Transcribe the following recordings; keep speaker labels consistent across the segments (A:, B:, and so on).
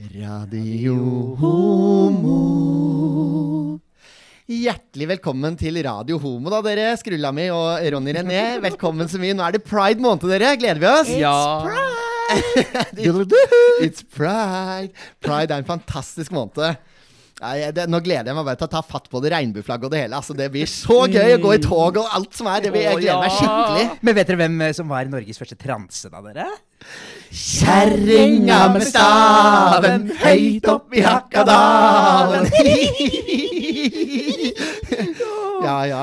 A: Radio Homo. Hjertelig velkommen til Radio Homo, da, dere. Skrulla mi og Ronny René. Velkommen så mye. Nå er det pride måned, dere. Gleder vi oss?
B: Ja.
A: It's pride. Pride er en fantastisk måned. Nei, det, nå gleder jeg meg bare til å ta fatt på det regnbueflagget og det hele. Altså, det blir så gøy å gå i tog og alt som er. Det blir, jeg gleder meg skikkelig.
B: Men vet dere hvem eh, som var Norges første transe, da, dere?
A: Kjerringa med staven høyt opp i Hakkadalen. Ja, ja.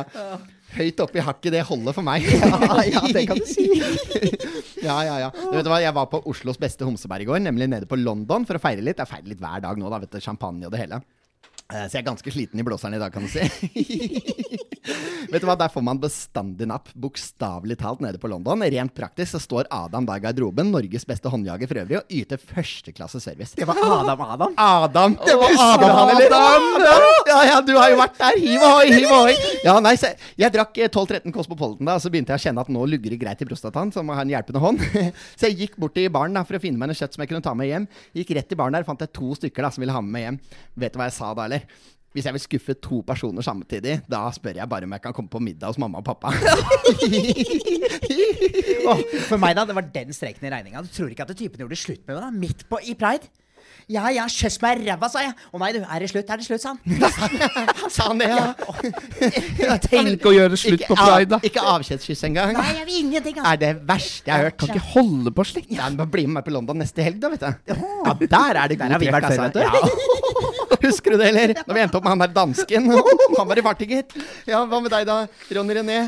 A: Høyt opp i hakket, det holder for meg. Ja, ja, det kan du si. Ja, ja, ja. Du vet hva, Jeg var på Oslos beste homsebar i går, nemlig nede på London, for å feire litt. Jeg feirer litt hver dag nå, da, vet du. Champagne og det hele. Eh, Så jeg er ganske sliten i blåseren i dag, kan du si. Vet du hva, Der får man bestandig napp, bokstavelig talt, nede på London. Rent praktisk så står Adam da i garderoben, Norges beste håndjager for øvrig, og yter førsteklasse service.
B: Det var Adam Adam.
A: Adam! Det var Adam,
B: Adam,
A: han, eller? Ja, ja, du har jo vært der. Hiv ohoi, hiv ohoi. Ja, nei, så jeg drakk eh, 12-13 Cosmopolitan da, og så begynte jeg å kjenne at nå lugger det greit i prostataen, så jeg må ha en hjelpende hånd. Så jeg gikk bort til baren da, for å finne meg noe kjøtt som jeg kunne ta med hjem. Gikk rett i baren der, fant jeg to stykker da, som ville ha med meg hjem. Vet du hva jeg sa da, eller? Hvis jeg vil skuffe to personer samtidig, da spør jeg bare om jeg kan komme på middag hos mamma og pappa.
B: Åh, for meg, da, det var den streken i regninga. Du tror ikke at typen gjorde slutt med meg, da? Midt på i pride? Ja, ja, kjøss meg i ræva, sa jeg. Å nei, du, er det slutt? Er det slutt, sa han.
A: Sa han det, ja?
C: Tenk å gjøre slutt
A: Ikke
C: på
A: av-
C: pride, da.
A: Ikke avskjedskyss engang.
B: Nei, jeg vil ingenting,
A: er
B: altså.
A: det verste jeg har hørt.
C: Kan ikke holde på slik.
A: Ja, men bare Bli med meg på London neste helg, da, vet du. Ja, Der er det god
B: har vi
A: trøkk,
B: vært før,
A: altså. Ja. Husker du det, eller? Da vi endte opp med han der dansken. Han var i farten, gitt. Ja, hva med deg da, Ronny René?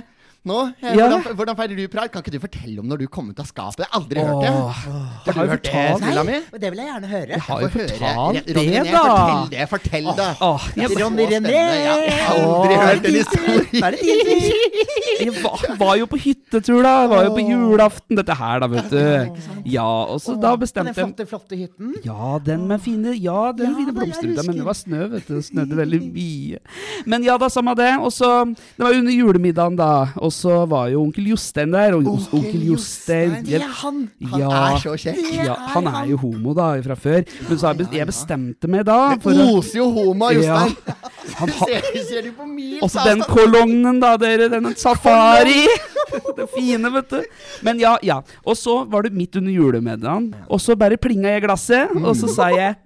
A: Nå? Eh,
C: Ja.
A: Hvordan, hvordan feirer du pride? Kan ikke du fortelle om når du kom ut av skapet? Jeg har aldri hørt det.
C: Åh, det har
A: du hørt
C: jeg
A: det,
C: fortalt.
A: Snilla mi?
B: Nei, men det vil jeg gjerne høre.
C: Har jeg
A: Få høre.
C: fortalt
A: Ronny
C: det,
A: René,
C: da?
A: Fortell det, fortell det.
C: Åh,
A: Det er
C: jeg
A: så
B: Ronny René.
A: spennende. Ja, Jeg har aldri
C: Åh,
A: hørt en historie.
B: Da er det din tur.
C: jeg var, var jo på hyttetur, da. Jeg var jo på julaften, dette her, da, vet du. Ja, og så da
B: Den
C: bestemte jeg
B: flotte, flotte hytten.
C: Ja, den med fine, ja,
B: Ja,
C: den fine
B: jeg
C: blomsterruta, men
B: husker.
C: det var snø, vet du. Det snødde veldig mye. Men ja da, samme det. Og så Det var under julemiddagen, da. Og så var jo onkel Jostein der. Og onkel, Jostein.
A: Jostein,
B: Det er han.
A: Han
C: ja.
A: er så kjekk.
B: Det
C: Ja, han
B: er
C: er jo homo da fra før, men så har jeg bes- jeg bestemte meg da for
A: Det
C: å
A: oser jo homo av Jostein.
C: han har
A: Ser, ser du på min altså,
C: også den kolognen, da, dere. Den safari. Det fine, vet du. Men ja, ja. Og så var det midt under julemiddagen, og så bare plinga jeg glasset, og så sa jeg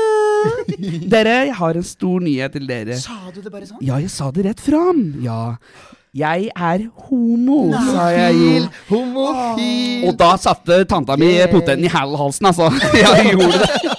C: «Woohoo!» Dere, jeg har en stor nyhet til dere.
B: Sa du det bare sånn?
C: Ja, jeg sa det rett fram. Ja. Jeg er homo, sa jeg jo.
A: Homofil, homofil.
C: Og da satte tanta mi poteten i hæl-halsen, altså. Ja, jeg gjorde det.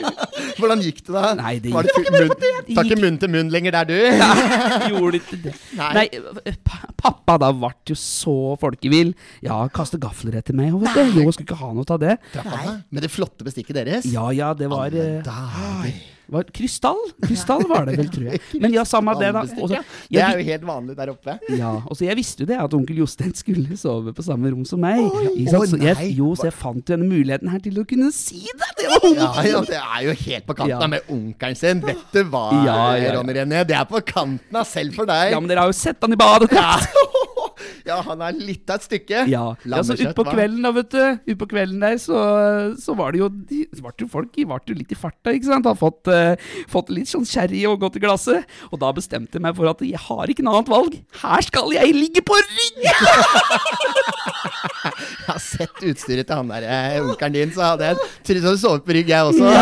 A: Hvordan gikk det da?
C: Nei, det
A: Var
C: gikk
A: full munn- Det var ikke munn til munn lenger der, du?
C: Gjorde ikke det.
A: Nei.
C: Nei, pa- pappa da ble jo så folkevill. Ja, kaste gafler etter meg. og Vet du. Jo, skulle ikke ha noe av det.
A: Nei. Med det flotte bestikket deres?
C: Ja ja, det var,
A: Alle
C: eh,
A: dager.
C: var Krystall? Krystall var det vel, tror jeg. Men ja, samme det, da. Og så-
A: Det
C: jeg,
A: er jo helt vanlig der oppe.
C: ja, og så jeg visste jo det, at onkel Jostein skulle sove på samme rom som meg. Ikke
A: Å,
C: sant? Så
A: nei.
C: jeg, jo, så jeg fant jo denne muligheten her til å kunne si det! Det var
A: Ja, ja, det er jo helt på kanten
C: Ja.
A: av med onkelen sin. Vet du hva,
C: Ja, ja, ja.
A: Ronny René? Det er på kanten av selv for deg.
C: Ja, men dere har jo sett han i badet!
A: Ja. Ja, han er litt av et stykke.
C: Ja, ja så
A: Lammekjøtt,
C: utpå
A: hva?
C: kvelden da, vet du. Utpå kvelden der, så, så var det jo de, var det jo Folk de var jo litt i farta, ikke sant. Har fått, eh, fått litt sånn sherry og gått i glasset. Og da bestemte jeg meg for at jeg har ikke noe annet valg. Her skal jeg ligge på ryggen!
A: Jeg har sett utstyret til han der eh, onkelen din, så hadde jeg trodd du hadde sovet på rygg, jeg også.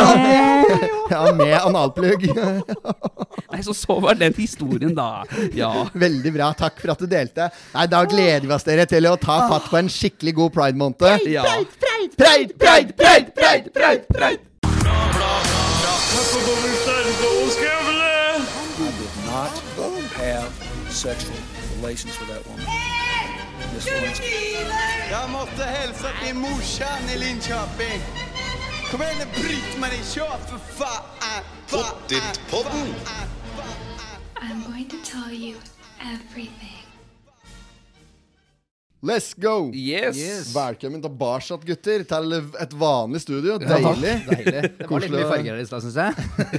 A: Ja, med analplugg.
C: Nei, så så var den historien, da. Ja.
A: Veldig bra. Takk for at du delte. Nei, Da gleder vi oss dere til å ta fatt på en skikkelig god pride-måned.
C: ja.
A: Pride, pride, pride, pride, pride!
D: not have sexual relations with that woman. Miss Lewinsky.
E: Jeg måtte hilse til morsan i Linköping. Kom igjen, Britt-Marie, kjør, for faen! Pottit-podden!
F: I'm going to tell you everything.
A: Let's go!
C: Yes.
A: Velkommen til Barsatt, gutter. Til et vanlig studio.
B: takk.
A: Deilig.
B: Deilig. Det var litt
A: Koselig
B: mye
A: å-
B: farger her i stad, syns jeg.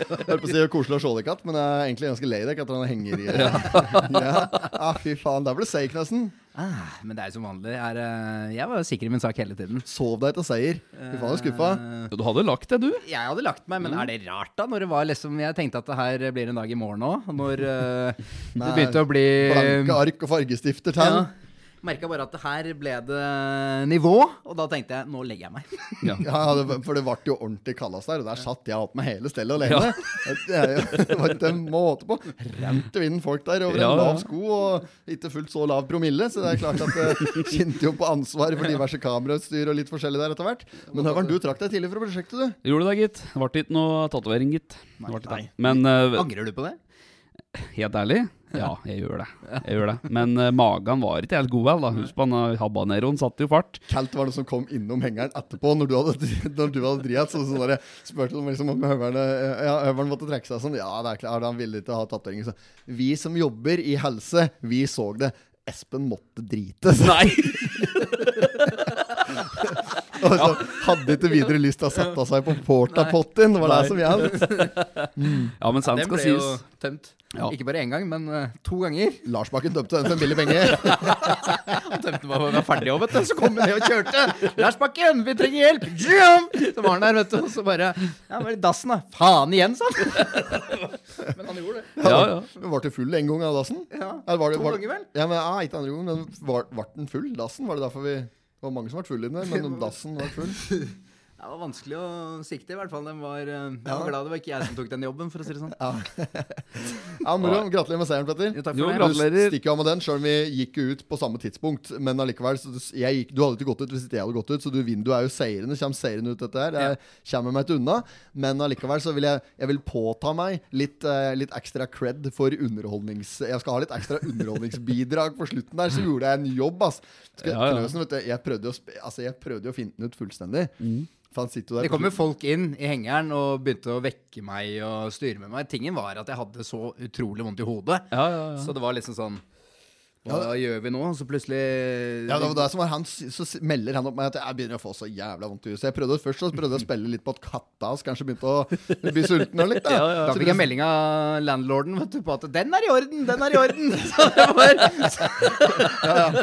A: Holdt på å si koselig og sjålekatt, men jeg er egentlig ganske lei deg etter han henger i ja. ah, Fy faen, der ble det seier, Knutsen.
B: Ah, men det er jo som vanlig. Er, eh, jeg var jo sikker i min sak hele tiden.
A: Sov deg til seier. Fy faen, jeg er skuffa.
C: Du hadde lagt deg, du.
B: Jeg hadde lagt meg, men er det rart, da? Når det var liksom Jeg tenkte at det her blir en dag i morgen òg. Når eh, det
A: Nei,
B: begynte å bli
C: Eh,
A: Blanke ark og fargestifter. Tann.
B: ja, Merka bare at det her ble det nivå, og da tenkte jeg nå legger jeg meg.
A: Ja, det, for det ble jo ordentlig kallas der, og der satt jeg opp med hele stellet alene. Det, er jo- det var ikke en måte på. Rant i vinden folk der over en
C: Ja, ja.
A: lav sko, og ikke fullt så lav promille, så det er klart at det kjente jo på ansvar for diverse kamerautstyr og litt forskjellig der etter hvert. Men Høveren, du trakk deg tidlig fra prosjektet, du.
C: Gjorde det, gitt. Det ble ikke noe tatovering, gitt. Det ble ikke det. Men eh,
B: Angrer du på det?
C: helt ærlig, ja, jeg gjør det. Jeg gjør det. Men eh, magen var ikke helt god, vel. da. Husk på han eh, habaneroen satte jo fart.
A: Kalt var det som kom innom hengeren etterpå, når du hadde, når du hadde dritt. Så sånn der, spurte de liksom om høveren, ja, høveren måtte trekke seg sånn. Ja, det er klart, han ville ikke ha tatovering. Så, Vi som jobber i helse, vi så det. Espen måtte drite. Så,
C: Nei!
A: og så hadde ikke videre lyst til å sette seg på portapotten. Det var det som gjaldt.
C: Ja, men sant
B: Den
C: skal
B: ble jo
C: sies.
B: tømt.
C: Ja.
B: Ikke bare én gang, men eh, to ganger.
A: Lars Bakken dømte den for en billig penge.
B: Han tømte meg for å være ferdig òg, vet du. Så kom han ned og kjørte. 'Lars Bakken, vi trenger hjelp!' Jam! Så var han der, vet du. Og så bare Ja, bare dassen, da. Faen igjen, sa han. Men han gjorde det.
C: Ja, ja.
A: Men Ble du full en gang av dassen?
B: Ja,
A: Eller var det-
B: to
A: var-
B: ganger vel?
A: Ja, men, ja, ikke andre gangen, men var- ble den full, dassen? Var det derfor vi det var mange som ble fulle inne, men om dassen var full.
B: Det var vanskelig å sikte, i hvert fall. Den var, eh, jeg var glad det var ikke jeg som tok den jobben, for å si det sånn.
A: Ja, moro. Gratulerer med seieren, Petter.
B: Jo, takk
C: Jo,
B: for det.
C: gratulerer.
A: Du stikker av med den, selv om vi gikk jo ut på samme tidspunkt. Men allikevel, så du, jeg gikk, du hadde ikke gått ut hvis ikke jeg hadde gått ut, så du vinner. Du er jo seirende. Kommer seirende ut dette her. Jeg kommer meg ikke unna. Men allikevel så vil jeg, jeg vil påta meg litt, eh, litt ekstra cred for underholdnings... Jeg skal ha litt ekstra underholdningsbidrag på slutten der, så gjorde jeg en jobb, ass. Skal,
C: Ja, ja.
A: Knøsen, vet du, jeg prøvde jo å sp- altså, jeg prøvde jo å finne den ut fullstendig.
C: Mm.
A: For han sitter jo der
B: Det
A: på
B: kom jo folk inn i hengeren og begynte å vekke meg og styre med meg. Tingen var at jeg hadde så utrolig vondt i hodet.
C: Ja, ja, ja.
B: Så det var liksom sånn Hva gjør vi nå? Så plutselig
A: Ja, det var det som var han, Så s- melder han opp meg at jeg begynner å få så jævla vondt i huset. Jeg prøvde Først så prøvde jeg å spille litt på at katta hans kanskje begynte å bli sulten. Og litt, da.
B: Da fikk jeg melding av landlorden vet du, på at 'den er i orden, den er i orden'. Så det var,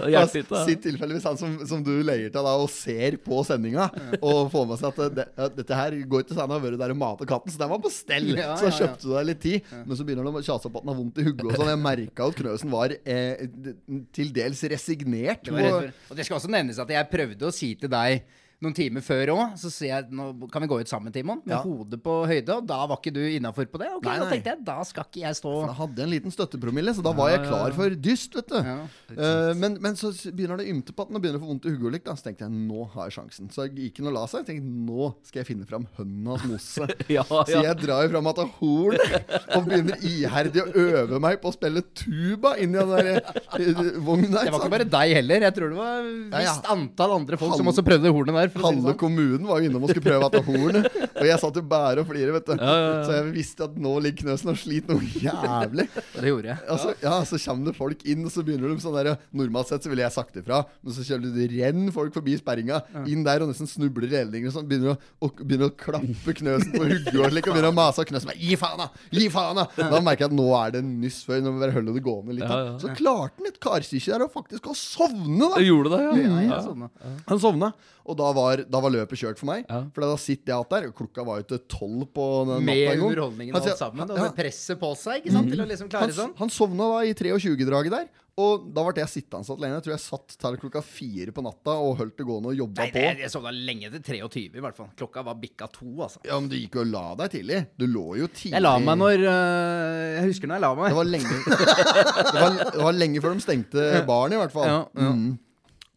C: Hjelp litt, da.
A: Si tilfeldigvis han som, som du leier til da, og ser på sendinga, og får med seg at det, ja, dette her går ikke så an å være der og mate katten, så den var på stell.
B: Ja,
A: så da
B: ja, ja.
A: kjøpte du deg litt tid, men så begynner han å kjase på at han har vondt i hodet og sånn. Jeg merka at Knøsen var eh, d- til dels resignert.
B: det var rett
A: og-
B: før. Og det skal også nevnes at jeg prøvde å si til deg noen timer før òg, så sier jeg nå kan vi gå ut sammen, Timon, med
A: Ja.
B: hodet på høyde, og da var ikke du innafor på det. Ok,
A: Nei,
B: Da
A: nei.
B: tenkte jeg da skal ikke jeg stå
A: For jeg hadde en liten støttepromille, så da var jeg klar for dyst. vet du
B: Ja.
A: Eh, men, men så s- begynner det å ymte på at den og begynner å få vondt i hodet. og likt, da. Så tenkte jeg nå har jeg sjansen. Så jeg gikk inn og la seg. Jeg tenkte nå skal jeg finne fram hønas mosse.
C: Ja,
A: Så
C: ja.
A: jeg drar jo fram av horn og begynner iherdig å øve meg på å spille tuba inni den der eh, vogna. ikke
B: Det var ikke
A: sant?
B: bare deg heller. Jeg tror det var
A: Ja, ja.
B: visst antall andre folk som
A: Halve-
B: også prøvde hornet der. For å si
A: Halve
B: det sånn.
A: kommunen var jo innom og skulle prøve at det var horn. Og jeg satt jo bare og flirte, vet du.
C: ja, ja.
A: Så jeg visste at nå ligger Knøsen og sliter noe jævlig.
B: Det gjorde jeg.
A: Altså, ja, så kommer det folk inn, og så begynner de sånn der Normalt sett så ville jeg sagt ifra, men så kjører du det renn folk forbi sperringa, inn der og nesten snubler i relingene og sånn, begynner å, og, begynner å klappe knøsen på hodet og slik, og begynner å mase og knøsen meg, gi faen, da! Gi faen, da! Da merker jeg at nå er det en nyss før, nå må vi bare holde det gående litt.
C: Ja,
A: Da.
C: ja.
A: Så klarte han et karstykke der og faktisk å sovne, da!
C: Du gjorde det, ja.
B: Ja,
C: ja.
B: jeg sånn, da.
A: Han sovna, og da var, da var løpet kjørt for meg.
C: Ja.
A: For da sitter jeg igjen der, og klokka var jo til tolv på den natta
B: Med
A: en gang.
B: underholdningen
A: Han
B: og
A: sier-
B: alt sammen. Og
A: Ja.
B: det presset på seg ikke sant, til å liksom klare
A: Han,
B: sånn.
A: han sovna da i 23-draget der, og da ble jeg sittende så alene. Jeg tror jeg satt til klokka fire på natta og holdt det gående og jobba
B: Nei, det,
A: på.
B: jeg sovna lenge til 23 i hvert fall. Klokka var bikka to, altså.
A: Ja, men du gikk jo og la deg tidlig. Du lå jo tidlig.
B: Jeg la meg når øh, Jeg husker når jeg la meg.
A: Det var lenge, det var, det var lenge før de stengte baren, i hvert fall.
B: Ja, ja.
A: Mm.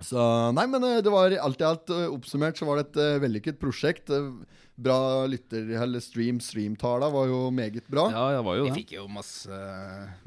A: Så nei, men eh, det var alt i alt eh, oppsummert så var det et eh, vellykket prosjekt. eh, bra lytter... Eller stream, streamtala var jo meget bra.
C: Ja, det var jo
G: Vi
C: det.
G: fikk jo masse,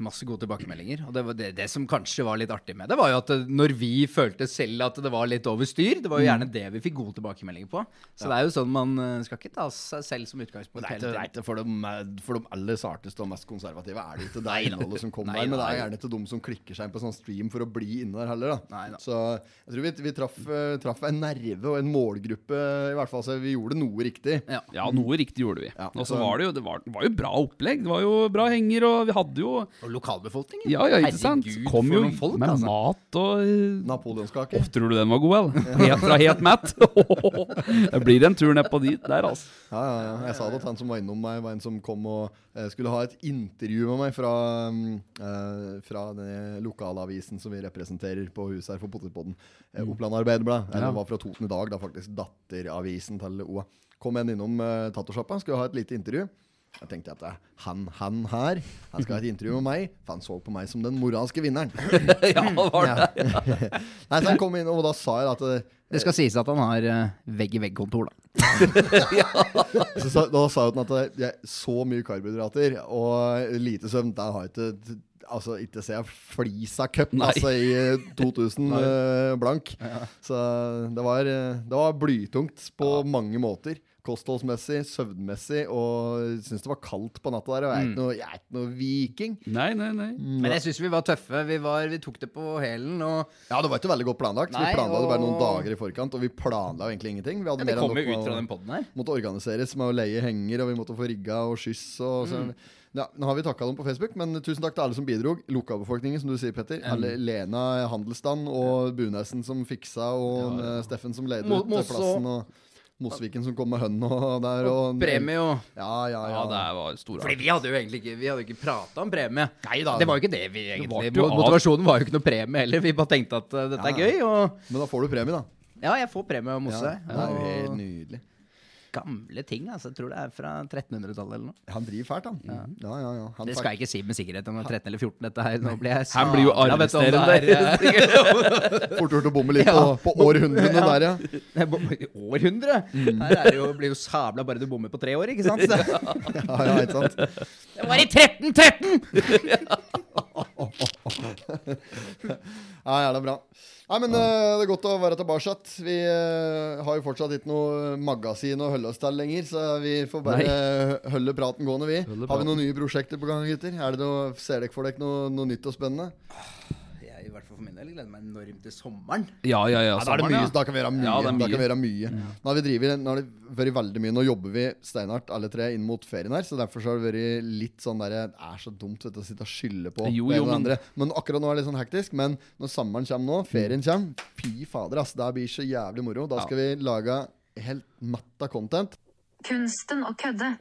G: masse gode tilbakemeldinger. Og det, var det, det som kanskje var litt artig med det, var jo at eh, når vi følte selv at det var litt over styr, det var jo gjerne det vi fikk gode tilbakemeldinger på. Så det er jo sånn man eh, skal ikke ta seg selv som utgangspunkt
A: Nei,
G: hele
A: det,
G: tiden.
A: nei, det for, de, for de aller sarteste og mest konservative er det ikke det innholdet som kommer
G: Nei
A: der. Men det
G: da,
A: er
G: nei.
A: gjerne ikke de som klikker seg inn på sånn stream for å bli inne der heller. Da.
G: Nei da.
A: Så jeg tror vi, vi traff, eh, traff en nerve og en målgruppe, i hvert fall. Så vi gjorde noe riktig.
G: Ja.
C: Ja, noe riktig gjorde vi.
A: Ja.
C: Og så var det jo, det var, det var jo bra opplegg. Det var jo bra henger, og vi hadde jo
G: Og lokalbefolkningen.
C: Ja, ja, ikke sant?
G: Herregud,
C: Kom
G: for
C: jo
G: noen folk,
C: med
G: altså.
C: mat og eh,
A: Napoleonskake.
C: Åh, tror du den var god, eller? Helt fra helt mett? Det blir en tur ned på dit der, altså.
A: Ja, ja, ja. Jeg sa det at han som var innom meg, var en som kom og eh, skulle ha et intervju med meg fra, mm, eh, fra den lokalavisen som vi representerer på huset her for Potetpodden. Eh, Oppland Arbeiderblad. Eller
C: Ja.
A: var fra Toten i dag, da faktisk datteravisen til OA. Kom en innom eh, tatosjappa, skulle ha et lite intervju. Jeg tenkte at eh, han, han her, han skal ha et intervju med meg, for han så på meg som den moralske vinneren.
C: Ja, var det.
A: Nei, så han kom inn, og da sa jeg at eh,
G: Det skal sies at han har eh, vegg-i-vegg-kontor, da.
A: Så sa, da sa hun at jeg, så mye karbohydrater og lite søvn, der har jeg ikke Altså, ikke ser jeg flisa cup
C: Nei.
A: altså, i eh, 2000 eh, blank. Så det var, eh, det var blytungt på mange måter. Kostholdsmessig, søvnmessig, og syns det var kaldt på natta der. Og jeg er ikke
G: Mm.
A: noe, jeg er ikke noe viking.
C: Nei, nei, nei.
G: Men jeg syns vi var tøffe. Vi, var, vi tok det på hælen. Og
A: Ja, det var ikke veldig godt planlagt.
G: Nei,
A: vi planla det bare noen
G: og-
A: dager i forkant, og vi planla jo egentlig ingenting. Vi hadde
G: det
A: mer enn nok
G: kom jo
A: med
G: ut fra
A: å-
G: den poden her.
A: måtte organiseres med å leie henger, og vi måtte få rigga og skyss.
G: Mm.
A: Og så. Ja, nå har vi takka dem på Facebook, men tusen takk til alle som bidro. Lokalbefolkningen, som du sier, Petter.
G: Mm.
A: Alle, Lena Handelsstand og Bunesen som fiksa, og eh, Steffen som leide
G: Mo-
A: ut
G: Mosse
A: plassen. og Mosviken som kom med hønn og der. Og,
G: Premie og
A: Ja, ja, ja.
C: Ja, det var store
G: Fordi vi hadde jo egentlig ikke Vi hadde jo ikke prata om premie.
A: Neida.
G: Det var jo ikke det vi egentlig
C: Det var jo
G: mo-
C: av-
G: Motivasjonen var jo ikke noe premie heller. Vi bare tenkte at eh, dette
A: Ja.
G: er gøy. Og
A: Men da får du premie, da.
G: ja, jeg får premie av Mosse.
A: Ja, det er jo helt
G: og
A: nydelig.
G: gamle ting. Altså, jeg tror det er fra 1300-tallet eller noe.
A: Han driver fælt, han. Ja, ja, ja. Han
G: Det skal jeg ikke si med sikkerhet om det er 13 eller 14, dette her. Nå blir jeg
C: Han blir jo
G: sabla, vet du, om det eh, er,
A: fort gjort å bomme litt
G: Ja.
A: på, på århundrene
G: Ja.
A: der, ja.
G: eh, bo- Århundre!
A: Mm.
G: Her er det jo, blir jo sabla bare du bommer på tre år, ikke sant? Så-
A: ja, ja ikke sant?
G: Det var i 1313!
A: Ja, jævla bra. Nei, men eh, det er godt å være tilbake. Vi eh, har jo fortsatt ikke noe magasin å holde oss til lenger, så vi får bare eh, holde praten gående, vi. Har
C: Holde
A: vi
C: praten.
A: noen nye prosjekter på gang, gutter? Er det noe, ser dere for dere noe, noe nytt og spennende?
G: Jeg i hvert fall for min del gleder meg enormt til sommeren.
C: Ja, ja, ja.
A: Da, er det
C: sommeren,
A: mye, Mm.
C: ja.
A: da kan vi gjøre mye.
C: Ja,
A: Da
C: det er
A: kan vi
C: mye.
A: gjøre mye. Nå har vi drivet, nå har det vært veldig mye. Nå jobber vi steinhardt alle tre inn mot ferien her, så derfor så har det vært litt sånn der Det er så dumt vet du, å sitte og skylde på
C: Jo,
A: det ene
C: jo,
A: og det
C: men-
A: andre. Men akkurat nå er det litt sånn hektisk. Men når sommeren kommer nå, ferien kommer, fy fader, ass. Det blir så jævlig moro. Da skal vi lage helt matta content.
H: Kunsten å kødde.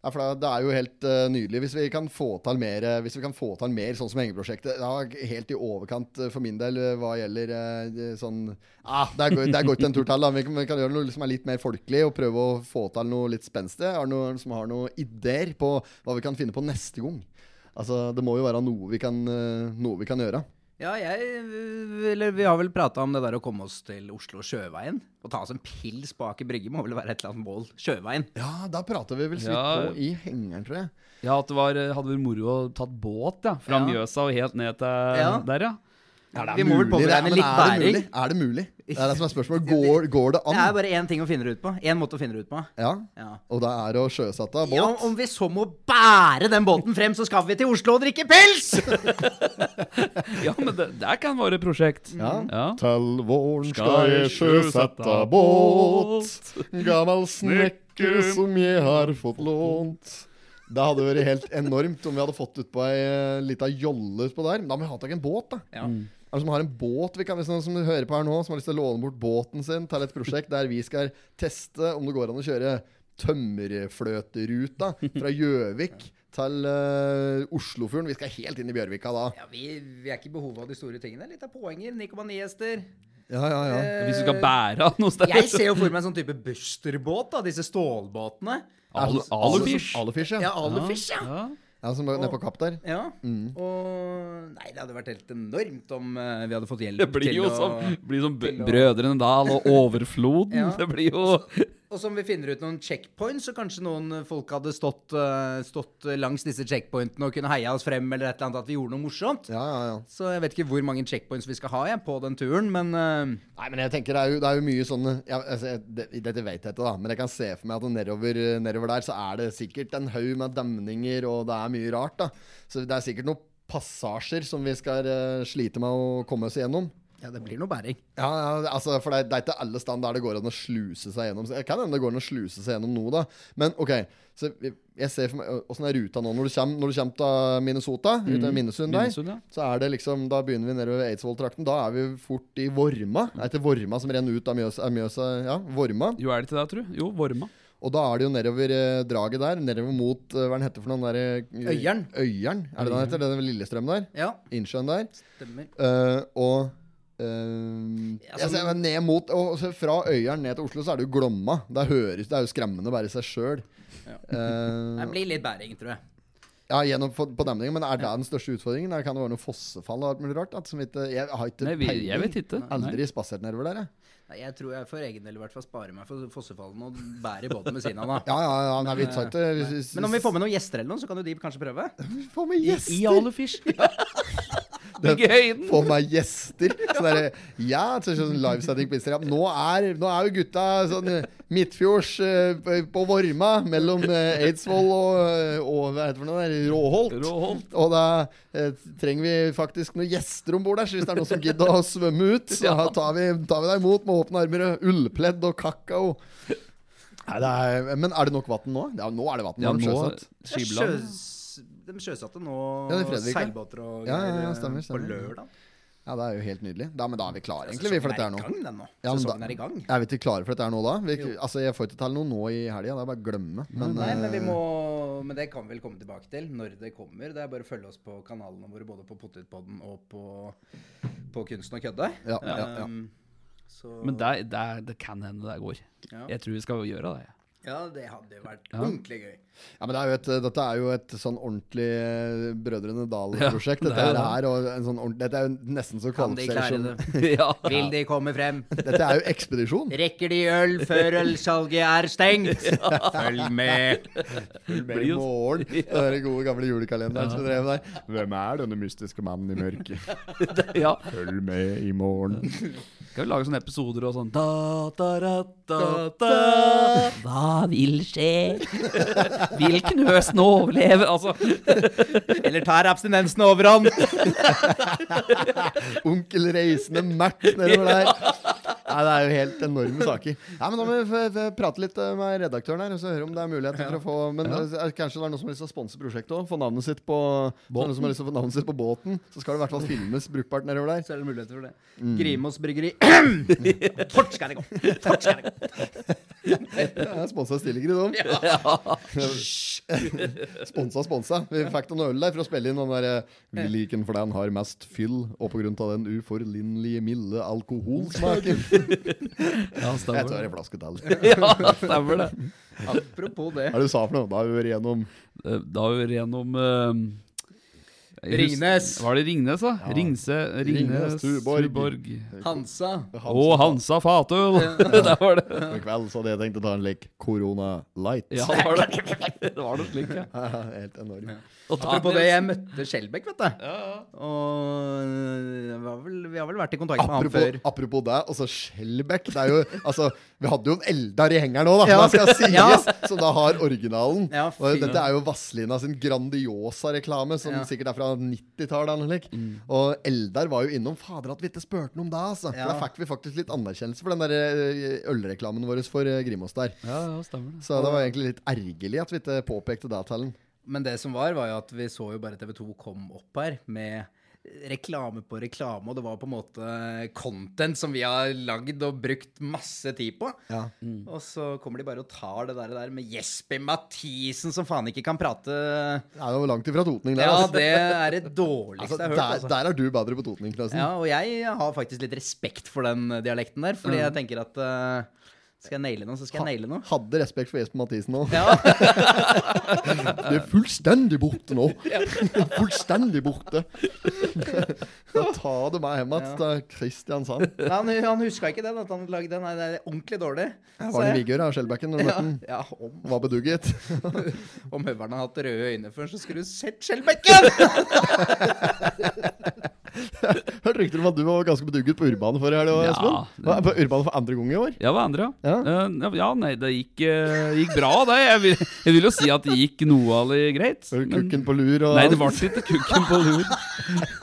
A: Ja, for da- Det er jo helt eh, nydelig. Hvis vi kan få til mer, eh, hvis vi kan få til mer sånn som hengeprosjektet Det var helt i overkant eh, for min del eh, hva gjelder eh, sånn ah, Der går der går ikke en tur til. da. Vi kan, vi kan gjøre noe som er litt mer folkelig, og prøve å få til noe litt spenstig. Er det noen som har noen ideer på hva vi kan finne på neste gang? Altså, Det må jo være noe vi kan, eh, noe vi kan gjøre.
G: Ja, jeg Eller vi har vel prata om det der å komme oss til Oslo Sjøveien. Å ta oss en pils bak i brygge må vel være et eller annet mål. Sjøveien.
A: Ja, da prater vi vel så
C: Ja.
A: vidt på i hengeren, tror jeg.
C: Ja, at det var, eh, hadde vært moro å tatt båt, ja. Fra
G: Ja.
C: Mjøsa og helt ned til
G: Ja.
C: der, ja.
G: vi må vel
A: Mulig, det er-
G: påberegne
A: men
G: litt
A: er det
G: bæring.
A: mulig? Er det mulig? Det er det som er spørsmålet. Går, går det
G: Det
A: an?
G: er bare én ting å finne det ut på. Én måte å finne det ut på.
A: Ja.
G: Ja.
A: Og det er å sjøsette båt?
G: Ja, om vi så må bære den båten frem, så skal vi til Oslo og drikke pils!
C: Ja, men det der kan være et prosjekt.
A: Ja.
C: ja.
A: Til våren
C: skal jeg sjøsette båt,
A: gammel
C: snekker som
A: jeg har fått lånt. Det hadde vært helt enormt om vi hadde fått utpå ei eh, lita jolle utpå der. Men da må vi ha tak i en båt, da.
G: Ja.
C: Mm.
A: Er det som har en båt vi kan, Hvis noen som hører på her nå, som har lyst til å låne bort båten sin til et prosjekt der vi skal teste om det går an å kjøre tømmerfløteruta fra Gjøvik til eh, Oslofjorden Vi skal helt inn i Bjørvika da.
G: Ja, vi, vi er ikke i behov av de store tingene. Litt av poenger. Nikomaniester.
A: Ja, ja, ja.
G: Eh,
C: Hvis du skal bære av noe sted.
G: Jeg ser jo for meg en sånn type Buster-båt, da. Disse stålbåtene.
C: Al- Alufish.
A: Alufish, ja.
G: altså- Ja, Alufish, ja.
C: Ja. Mm.
A: Ja, som er nede på kapp der.
G: Ja. Og Nei, det hadde vært helt enormt om eh, vi hadde fått hjelp
C: Det blir jo sånn.
G: til
C: som,
G: å
C: blir som
G: til å-
C: Brødrene Dal og Overfloden.
G: Ja.
C: Det blir jo
G: Og som vi finner ut noen checkpoints, så kanskje noen eh, folk hadde stått, eh, stått langs disse checkpointene og kunne heia oss frem, eller et eller annet, at vi gjorde noe morsomt.
A: Ja, ja, ja.
G: Så jeg vet ikke hvor mange checkpoints vi skal ha jeg, på den turen, men eh,
A: Nei, men jeg tenker det er jo, det er jo mye sånne ja, altså, jeg- det, Dette vet jeg ikke, da, men jeg kan se for meg at nedover, nedover der så er det sikkert en haug med demninger, og det er mye rart, da. Så det er sikkert noen passasjer som vi skal eh, slite med å komme oss igjennom.
G: ja, det blir noe bæring.
A: Ja, ja, altså, for det, det er ikke alle steder der det går an å sluse seg gjennom. Så det kan hende det går an å sluse seg gjennom noe, da. Men OK, så vi- jeg ser for meg åssen er ruta nå? Når du kommer, når du kommer til Minnesota, ut av Minnesund der,
C: Minnesund, ja.
A: så er det liksom Da begynner vi nedover Eidsvoll-trakten. Da er vi fort i Vorma. Det er ikke Vorma som renner ut av Mjøsa, er Mjøsa ja, Vorma.
C: Jo, er det til deg, tru? Jo, Vorma.
A: Og da er det jo nedover eh, draget der, nedover mot eh, Hva er den heter for noen der eh,
G: Øyeren.
A: Øyeren, er det den heter? Den ved Lillestrøm der?
G: Ja,
A: Innsjøen der?
G: stemmer.
A: Eh, og eh,
G: altså-
A: jeg ser meg ned mot og så Fra Øyeren ned til Oslo så er det jo Glomma. Det, høres, det er jo skremmende bare i seg sjøl.
G: Det blir litt bæring, tror jeg.
A: ja, gjennom på på demningen, men er det den største utfordringen? Er- Kan det være noe fossefall og alt mulig rart? da, som ikke, jeg har ikke
C: Nei, vi, jeg vet ikke. Nei.
A: Aldri spasert nedover der, jeg.
G: Nei, Jeg tror jeg for egen del i hvert fall sparer meg for fossefallene og bærer båten ved siden av. da.
A: Ja, ja, ja, nei, vi tar ikke hvis- hvis-
G: Men om vi får med noen gjester eller noe, så kan jo de kanskje prøve.
A: hvis vi får med gjester!
C: I Alufish. Bygge høyden.
A: Få meg gjester! Sånn derre Ja, så sånn livesending på Instagram. Nå er, nå er jo gutta sånn eh, midtfjords eh, på- på Vorma, mellom eh, Eidsvoll og, eh, og hva heter det for noe der? Råholt.
C: Råholt.
A: Og da eh, trenger vi faktisk noen gjester om bord der, så hvis det er noen som gidder å svømme ut, så tar vi, tar vi deg imot med åpne armer og ullpledd og kakao. Nei, det er, men er det nok vann nå? Ja, nå er det vann.
C: Ja, nå
A: sjøsatt.
C: Skibladet.
G: Sjøs- De sjøsatte nå
A: Ja, det er Fredrik, ja.
G: seilbåter og
A: Ja, ja, ja,
G: greier,
A: stemmer,
G: på
A: stemmer.
G: lørdag. Altså,
A: Ja, det er jo helt nydelig. Da, men da er vi klare, egentlig, vi, for dette her nå.
G: Sesongen er i gang, den nå.
A: Ja, men
G: Sesongen
A: da-
G: er i gang.
A: Er vi ikke klare for dette her nå, da? Vi, altså, Jeg får ikke til noe nå i helga, det er bare å glemme. Men,
G: Nei, men
A: eh,
G: vi må Men det kan vi vel komme tilbake til når det kommer. Det er bare å følge oss på kanalene våre, både på Potetpodden og på, på Kunsten og kødde.
A: ja, ja, ja.
G: Um, så
C: Men det, det, det kan hende det går.
G: Ja.
C: Jeg tror vi skal gjøre det.
G: Ja, det hadde jo vært ordentlig gøy.
A: ja, men det er jo et, Dette er jo et sånn ordentlig eh, Brødrene Dal-prosjekt.
C: Ja, det
A: Dette
C: er
A: her er,
C: det.
A: og en sånn ordentlig, dette er jo nesten så
G: Kan de
A: kvalifiserer
G: klare
A: som
G: det?
C: Ja.
G: Vil de komme frem?
A: Dette er jo ekspedisjon.
G: Rekker de øl før ølsalget er stengt? Følg med.
A: Blir
C: jo-
A: morgen. Den gode, gamle julekalenderen som drev der. Hvem er denne mystiske mannen i mørket?
C: ja.
A: Følg med i morgen.
C: Skal vi lage sånne episoder og sånn da, da, da, da, da. Hva vil skje? Hvilken høst nå overleve? Altså,
G: Eller tar abstinensen overhånd?
A: Onkel Reisende Mac nedover der. Nei, det er jo helt enorme saker. Nei, men Da må vi f- f- prate litt eh, med redaktøren her og så høre om det er muligheter for å få Men eh, kanskje det er noen som har lyst til å sponse prosjektet òg? Få navnet sitt på så er det noen som har lyst til å få navnet sitt på båten? Så skal det i hvert fall filmes brukbart nedover der.
G: Så er det muligheter for det. Grimos bryggeri. Fort skal det gå! Fort skal det gå!
A: Ja, Sponsa Stillegrid òg. Ja. sponsa, sponsa. Vi fikk noen øl der for å spille inn den derre Vi liker den for den har mest fyll, og på grunn av den uforlinnelige milde alkoholsmaken.
C: ja,
A: Jeg
C: stemmer
A: tar
C: det.
A: en flaske til.
C: Ja, stemmer det.
G: Apropos det.
A: Hva er det du sa for noe? Da har vi vært igjennom
C: Eh, Da er vi gjennom eh, jeg husker-
G: Ringnes.
C: Var det Ringnes, da? Ringse, Ringnes,
A: Ringnes, Tuborg.
C: Tuborg.
G: Hansa.
C: Og Hansa Fatøl! Der var det.
A: I kveld så hadde jeg tenkt å ta en lek Corona Light.
C: Ja, det var det. Det var noe slikt, ja.
A: Helt enorm.
C: Og da-
G: Apropos det, jeg møtte Skjelbæk, vet du. Og eh, det var vel, vi har vel vært i kontakt med han
A: Apropos,
G: før.
A: apropos det, altså Skjelbæk det er jo, altså, Vi hadde jo en Eldar i hengeren òg, da.
G: Ja.
A: Det skal sies,
G: Ja.
A: som da har originalen.
G: Ja,
A: og
G: fy.
A: dette er jo Vazelina sin Grandiosa-reklame, som
G: Ja. Mm.
A: sikkert er fra 90-tallet. eller noe slikt. Og Eldar var jo innom Fader, at vi ikke spurte noe om det! Altså.
G: Ja.
A: For Da fikk vi faktisk litt anerkjennelse for den der eh, ølreklamen vår for eh, Grimos der.
C: ja, ja, stemmer det.
A: Så det var egentlig litt ergerlig at vi ikke påpekte det til den.
G: Men det som var, var jo at vi så jo bare TV 2 kom opp her med reklame på reklame, og det var på en måte content som vi har lagd og brukt masse tid på.
A: Ja.
G: Og så kommer de bare og tar det der, der med Jesper Mathisen som faen ikke kan prate
A: Det er jo langt ifra Totning, der.
G: Ja,
A: altså.
G: det er det dårligste
A: Altså,
G: jeg har hørt.
A: der,
G: Altså.
A: der er du bedre på Totning, Klausen.
G: Ja, og jeg har faktisk litt respekt for den dialekten der, fordi jeg tenker at eh, Skal jeg naile noe, så skal jeg naile noe.
A: Hadde respekt for Jesper Mathisen nå.
G: Ja.
A: Du er fullstendig borte nå. fullstendig borte. da tar du meg hjem igjen til Kristiansand.
G: Nei, han han huska ikke den, at han lagde den. Nei, det er ordentlig dårlig.
A: Var det Vigør av Skjelbekken når du møtte
G: Ja,
A: den?
G: ja, om,
A: Var bedugget.
G: om høveren har hatt røde øyne før, så skulle du sett Skjelbekken!
A: Hørte rykter om at du var ganske bedugget på Urbane forrige helg,
C: Ja,
A: Espen? Hva, På Urbane for andre gang i år?
C: Ja, hva andre? Ja,
A: Ja.
C: Eh, ja nei, det gikk, eh, gikk bra, det. Jeg vil, jeg vil jo si at det gikk noe alle greit. men-
A: Kukken på lur og
C: Nei, det var ikke kukken på lur.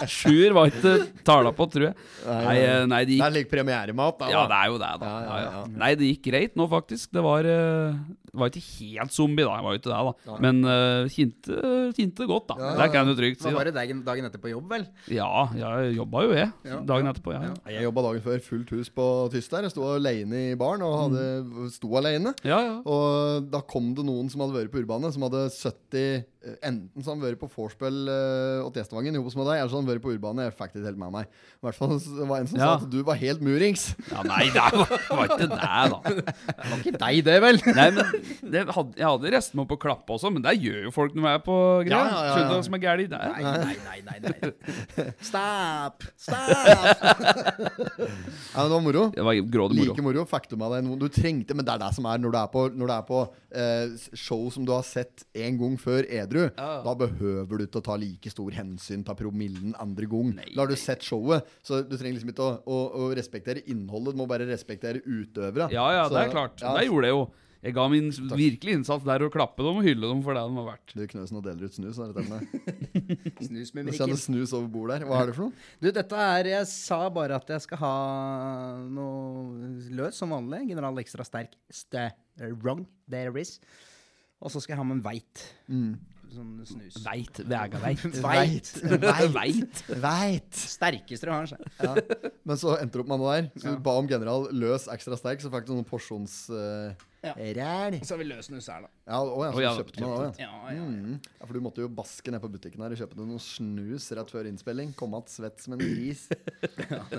C: Sjuer var ikke tala på, tror jeg. Nei, eh, nei det
A: Det
C: gikk
A: er litt premieremat, da.
C: Ja, det er jo det, da. Ja, ja. Nei, det gikk greit nå, faktisk. Det var, eh, det var ikke helt zombie, da. Jeg var jo ikke det, da. Men eh, kjente, kjente godt, da. Det kan du trygt si.
G: Så var
C: Da.
G: det dagen, dagen etter på jobb, vel?
C: Ja, jeg jobba jo, jeg. Dagen etterpå, ja.
A: Nei, Jeg jobba dagen før fullt hus på tyst der. Jeg sto alene i baren og
C: Mm.
A: hadde, sto alene.
C: Ja, ja.
A: Og da kom det noen som hadde vært på Urbane, som hadde 70 eh, Enten så hadde han vært på vorspiel eh, åt Gjestevangen ihop med deg, eller så hadde han vært på Urbane. Jeg fikk det ikke helt med meg. I hvert fall så var det en som
C: Ja.
A: sa at du var helt murings.
C: ja nei, det var, var ikke det, da.
G: Det var ikke deg, det, vel?
C: Nei, men det hadde, Jeg hadde resten med på å klappe også, men det gjør jo folk når de er på greia.
A: Ja, ja, ja, ja.
C: Skjønner du hva som er gærent der?
G: Nei, nei, nei, nei, nei. Stop! Stop!
A: Ja, men det var moro.
C: Det var grådig moro.
A: Like moro. Fikk du med deg noen du trengte? Men det er det som er når du er på, når du er på eh, show som du har sett en gang før edru. Da behøver du ikke å ta like stor hensyn til promillen andre gang. Da har du sett showet, så du trenger liksom ikke å, å, å respektere innholdet. Du må bare respektere utøverne.
C: Ja, ja,
A: Så-
C: det er klart.
A: ja,
C: Det gjorde jeg jo. Jeg ga min virkelige innsats der å klappe dem og hylle dem for det de var verdt.
A: Du Knøsen og deler ut snus. Er det det
G: Snus med
A: med
G: Mikkel.
A: kjenner snus over bordet der. Hva er det for noe?
G: sånn- Du, dette er Jeg sa bare at jeg skal ha noe løs som vanlig. General Extra Sterk Strong There Is. Og så skal jeg ha med en veit. Sånn snus.
C: Veit. Vega veit.
G: Veit.
C: Veit.
A: Veit!
G: Sterkeste du har, sa jeg.
A: Men så endte du opp med noe der. Så du ba om general løs ekstra sterk, så fikk du noen porsjons...
G: Ja.
A: Eh, ræl.
G: Så har vi løs snus her, da.
A: Ja, å, ja, så
C: Å, ja,
A: du kjøpte noe, ja.
G: Ja, ja, ja.
A: Mm. Ja, for du måtte jo baske ned på butikken her og kjøpe deg noe snus rett før innspilling. Komme att svett som en gris.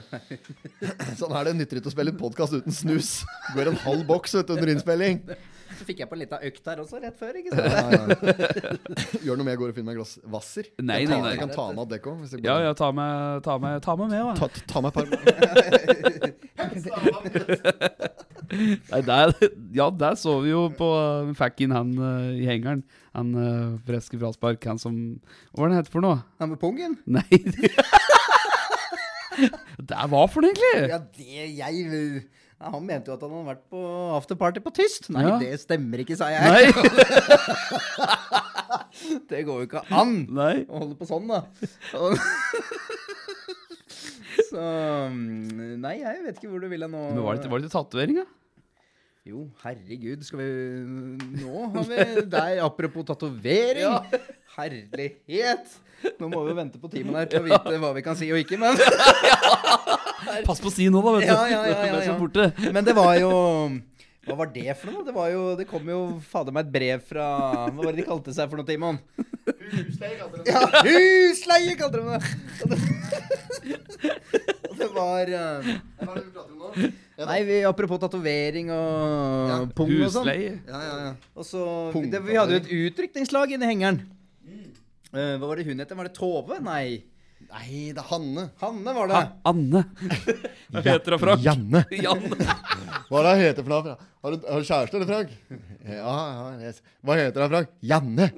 A: sånn er det. Nytter ikke å spille podkast uten snus. Går en halv boks vet du, under innspilling.
G: Så fikk jeg på en lita økt her også, rett før. ikke sant?
A: Ja, ja. Gjør noe med jeg går og finner meg et glass Hvasser.
C: Nei,
A: jeg,
C: nei,
A: tar-
C: nei.
A: jeg kan ta med av dekk òg. hvis jeg
C: Ja,
A: bare-
C: ja, ta med, ta med, ta med, med da.
A: Ta, ta meg et par
C: Nei, der, ja, der så vi jo på uh, Fackin, han uh, i hengeren. Han uh, freske fraspark, han som Hva var det han het for noe?
G: Han med pungen?
C: Nei Det Det var for noe, egentlig!
G: Ja, det jeg ja, Han mente jo at han hadde vært på afterparty på tyst. Nei,
C: Ja.
G: det stemmer ikke, sa jeg.
C: Nei.
G: Det går jo ikke an
C: Nei.
G: å holde på sånn, da. Og- Så mm, Nei, jeg vet ikke hvor du ville nå.
C: Men var det, ikke- var det ikke tatovering, da?
G: Jo, herregud, skal vi Nå har vi deg, apropos tatovering. Herlighet! Nå må vi jo vente på timen her til å vite hva vi kan si og ikke, men
C: Pass på å si noe, da, vet du.
G: Ja, ja, ja, ja,
C: Ble så
G: ja.
C: borte.
G: Men det var jo Hva var det for noe? Det, var jo, det kom jo fader meg et brev fra Hva var det de kalte seg for noe, Timon? Husleie, kalte de det. Ja, husleie kalte de det! Og det, og det var eh,
A: par.
G: Nei, vi, apropos tatovering og pung og sånn.
C: Husleie.
A: Ja, ja, ja.
G: Og så,
A: Pung-
G: det, vi hadde jo et utdrikningslag inni hengeren. Eh, hva var det hun het? Var det Tove? Nei.
A: Nei, det er Hanne.
G: Hanne var det.
C: Ha, Anne. Hva heter hun, Frank?
A: Janne.
C: Janne.
A: Hva er det han heter for noe? Frank? Har du, har du kjæreste, eller, Frank? Ja, ja, yes. Hva heter han, Frank? Janne.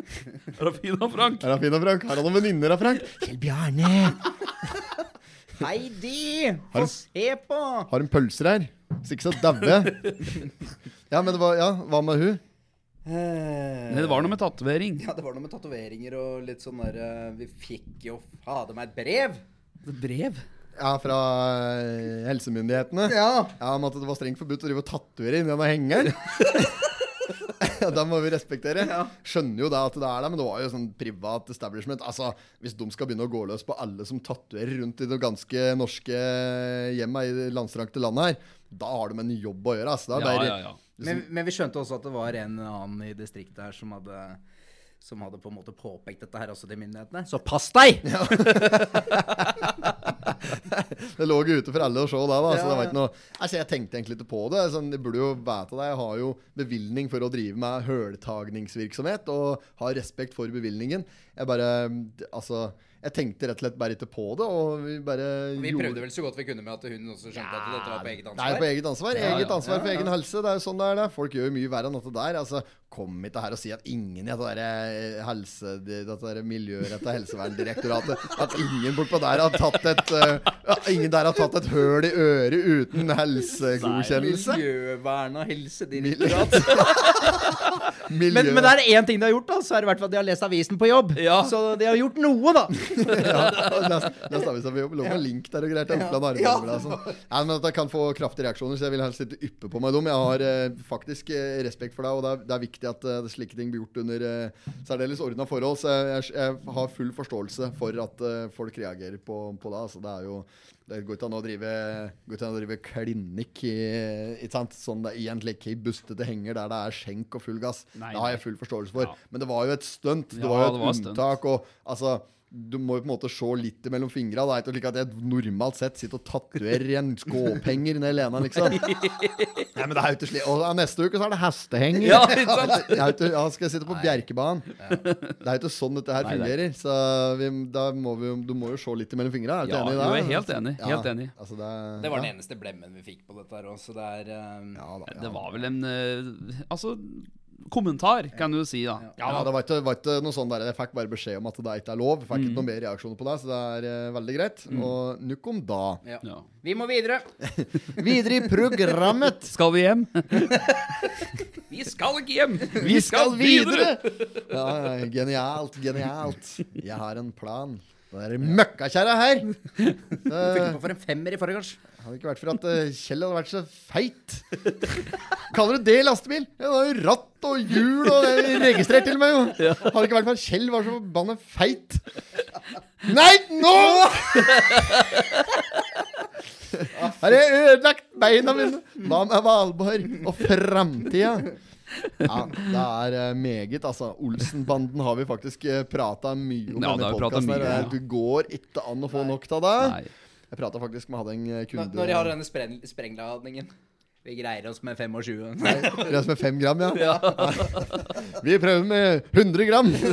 C: Er hun fin, da, Frank?
A: Er han fin, da, Frank? Har han noen venninner, da, Frank? Kjell Bjarne.
G: Heidi!
A: Har
G: Få
A: du-
G: se på!
A: Har hun pølser her? Hvis ikke så dauer jeg. Ja, men det var, ja, hva med hun?
G: Eh,
C: Nei, det var noe med tatovering.
G: Ja, det var noe med tatoveringer og litt sånn der eh, Vi fikk jo fader meg et brev!
C: Brev?
A: Ja, fra eh, helsemyndighetene?
G: Ja.
A: Ja, Om at det var strengt forbudt å drive og tatovere inni denne hengeren. Ja, Den må vi respektere.
G: Ja.
A: Skjønner jo det at det er der, men det var jo sånn privat establishment. Altså, Hvis de skal begynne å gå løs på alle som tatoverer rundt i det ganske norske hjemmet i det landstrakte landet her, da har de en jobb å gjøre. altså. Da
C: Ja,
A: er det-
C: ja, ja.
G: Men, men vi skjønte også at det var en annen i distriktet her som hadde som hadde på en måte påpekt dette her også til myndighetene. Så pass deg!
A: Det lå jo ute for alle å se da, da så det var ikke noe altså, Jeg tenkte egentlig ikke på det. Sånn, jeg burde jo vite det. Jeg har jo bevilgning for å drive med høltagningsvirksomhet, og har respekt for bevilgningen. Jeg bare Altså, jeg tenkte rett og slett bare ikke på det, og vi bare
B: Vi prøvde vel så godt vi kunne med at hun også skjønte at dette var på eget
A: Det er
B: ansvar.
A: på eget ansvar. Eget ansvar for egen helse. Det er jo sånn det er. det. Folk gjør jo mye verre enn dette der. Altså, kom ikke her og si at ingen i dette, der eh, helse, dette der miljøretta helseverndirektoratet At ingen bortpå der har tatt et eh, at Ingen der har tatt et høl i øret uten helsegodkjennelse.
B: Miljøvern og helsedirektorat.
A: Miljø- Miljø.
B: Men, men det er én ting de har gjort, da, så er det i hvert fall at de har lest avisen på jobb.
C: Ja.
B: Så de har gjort noe, da.
A: ja, der står vi sammen. Lå med link der og greit. Oppland Arbeiderblad og sånn. Nei, men dette kan få kraftige reaksjoner, så jeg vil helst ikke yppe på meg dem. Jeg har eh, faktisk eh, respekt for deg, og det er, det er viktig at eh, slike ting blir gjort under eh, særdeles ordna forhold. Så jeg, jeg har full forståelse for at eh, folk reagerer på, på det. Altså, det er jo det går ikke an å drive, går ikke an å drive klinikk i, ikke sant? sånn det er egentlig ikke i bustete henger der det er skjenk og full gass.
C: Nei,
A: det har jeg full forståelse for. Men det var jo et stunt. Det
C: Ja,
A: var jo
C: det
A: et
C: var stunt.
A: unntak tak. Og altså, du må jo på en måte se litt mellom fingra. Det er ikke slik at jeg normalt sett sitter og tatoverer en skåpenger ned i Lena, liksom. Nei, men det er jo ikke slik. Og neste uke så er det hestehenger.
C: Ja, ikke sant?
A: Jeg er jo ikke, ja, skal jeg sitte på Bjerkebanen? Det er jo ikke sånn dette her
C: Nei, det
A: fungerer. Så vi, da må vi, jo- du må jo se litt mellom fingra. Er du
C: Ja,
A: enig i det?
C: jo, jeg er helt enig, helt enig.
A: Altså, det, er-
B: Det var den
A: ja.
B: eneste blemmen vi fikk på dette her òg, så det er eh,
A: Ja, da, ja.
C: Det var vel en eh, Altså, kommentar, kan du si, da.
A: Ja, det var ikke, var ikke noe sånn der Jeg fikk bare beskjed om at det ikke er lov. Fikk
C: Mm.
A: ikke noe mer reaksjoner på det, så det er eh, veldig greit. Og nukk om da.
C: Ja.
B: Vi må videre.
A: Videre i programmet
C: Skal vi hjem?
B: Vi skal ikke hjem!
C: Vi
A: Ja, ja, genialt, genialt. Jeg har en plan. Det er møkkakjerra her.
B: Fikk
A: Det
B: på for en femmer i forgårs.
A: hadde ikke vært for at eh, Kjell hadde vært så feit. Kaller du det lastebil? Ja, det var jo ratt og hjul og det er registrert til og med, jo. Hadde ikke vært for at Kjell var så forbanna feit. Nei, nå! Har jeg ødelagt beina mine? Hva med Valborg og framtida? Ja, det er eh, meget. Altså, Olsenbanden har vi faktisk prata mye om.
C: Ja, det
A: denne
C: har vi pratet
A: podcasten her,
C: mye om,
A: og Det går ikke an å få nok av det.
C: Nei.
A: Jeg prata faktisk med hadde en eh, kunde
B: Når når de har denne spreng sprengladningen. Vi greier oss med 25.
A: Det er som er fem gram, ja. Vi prøver med 100 gram.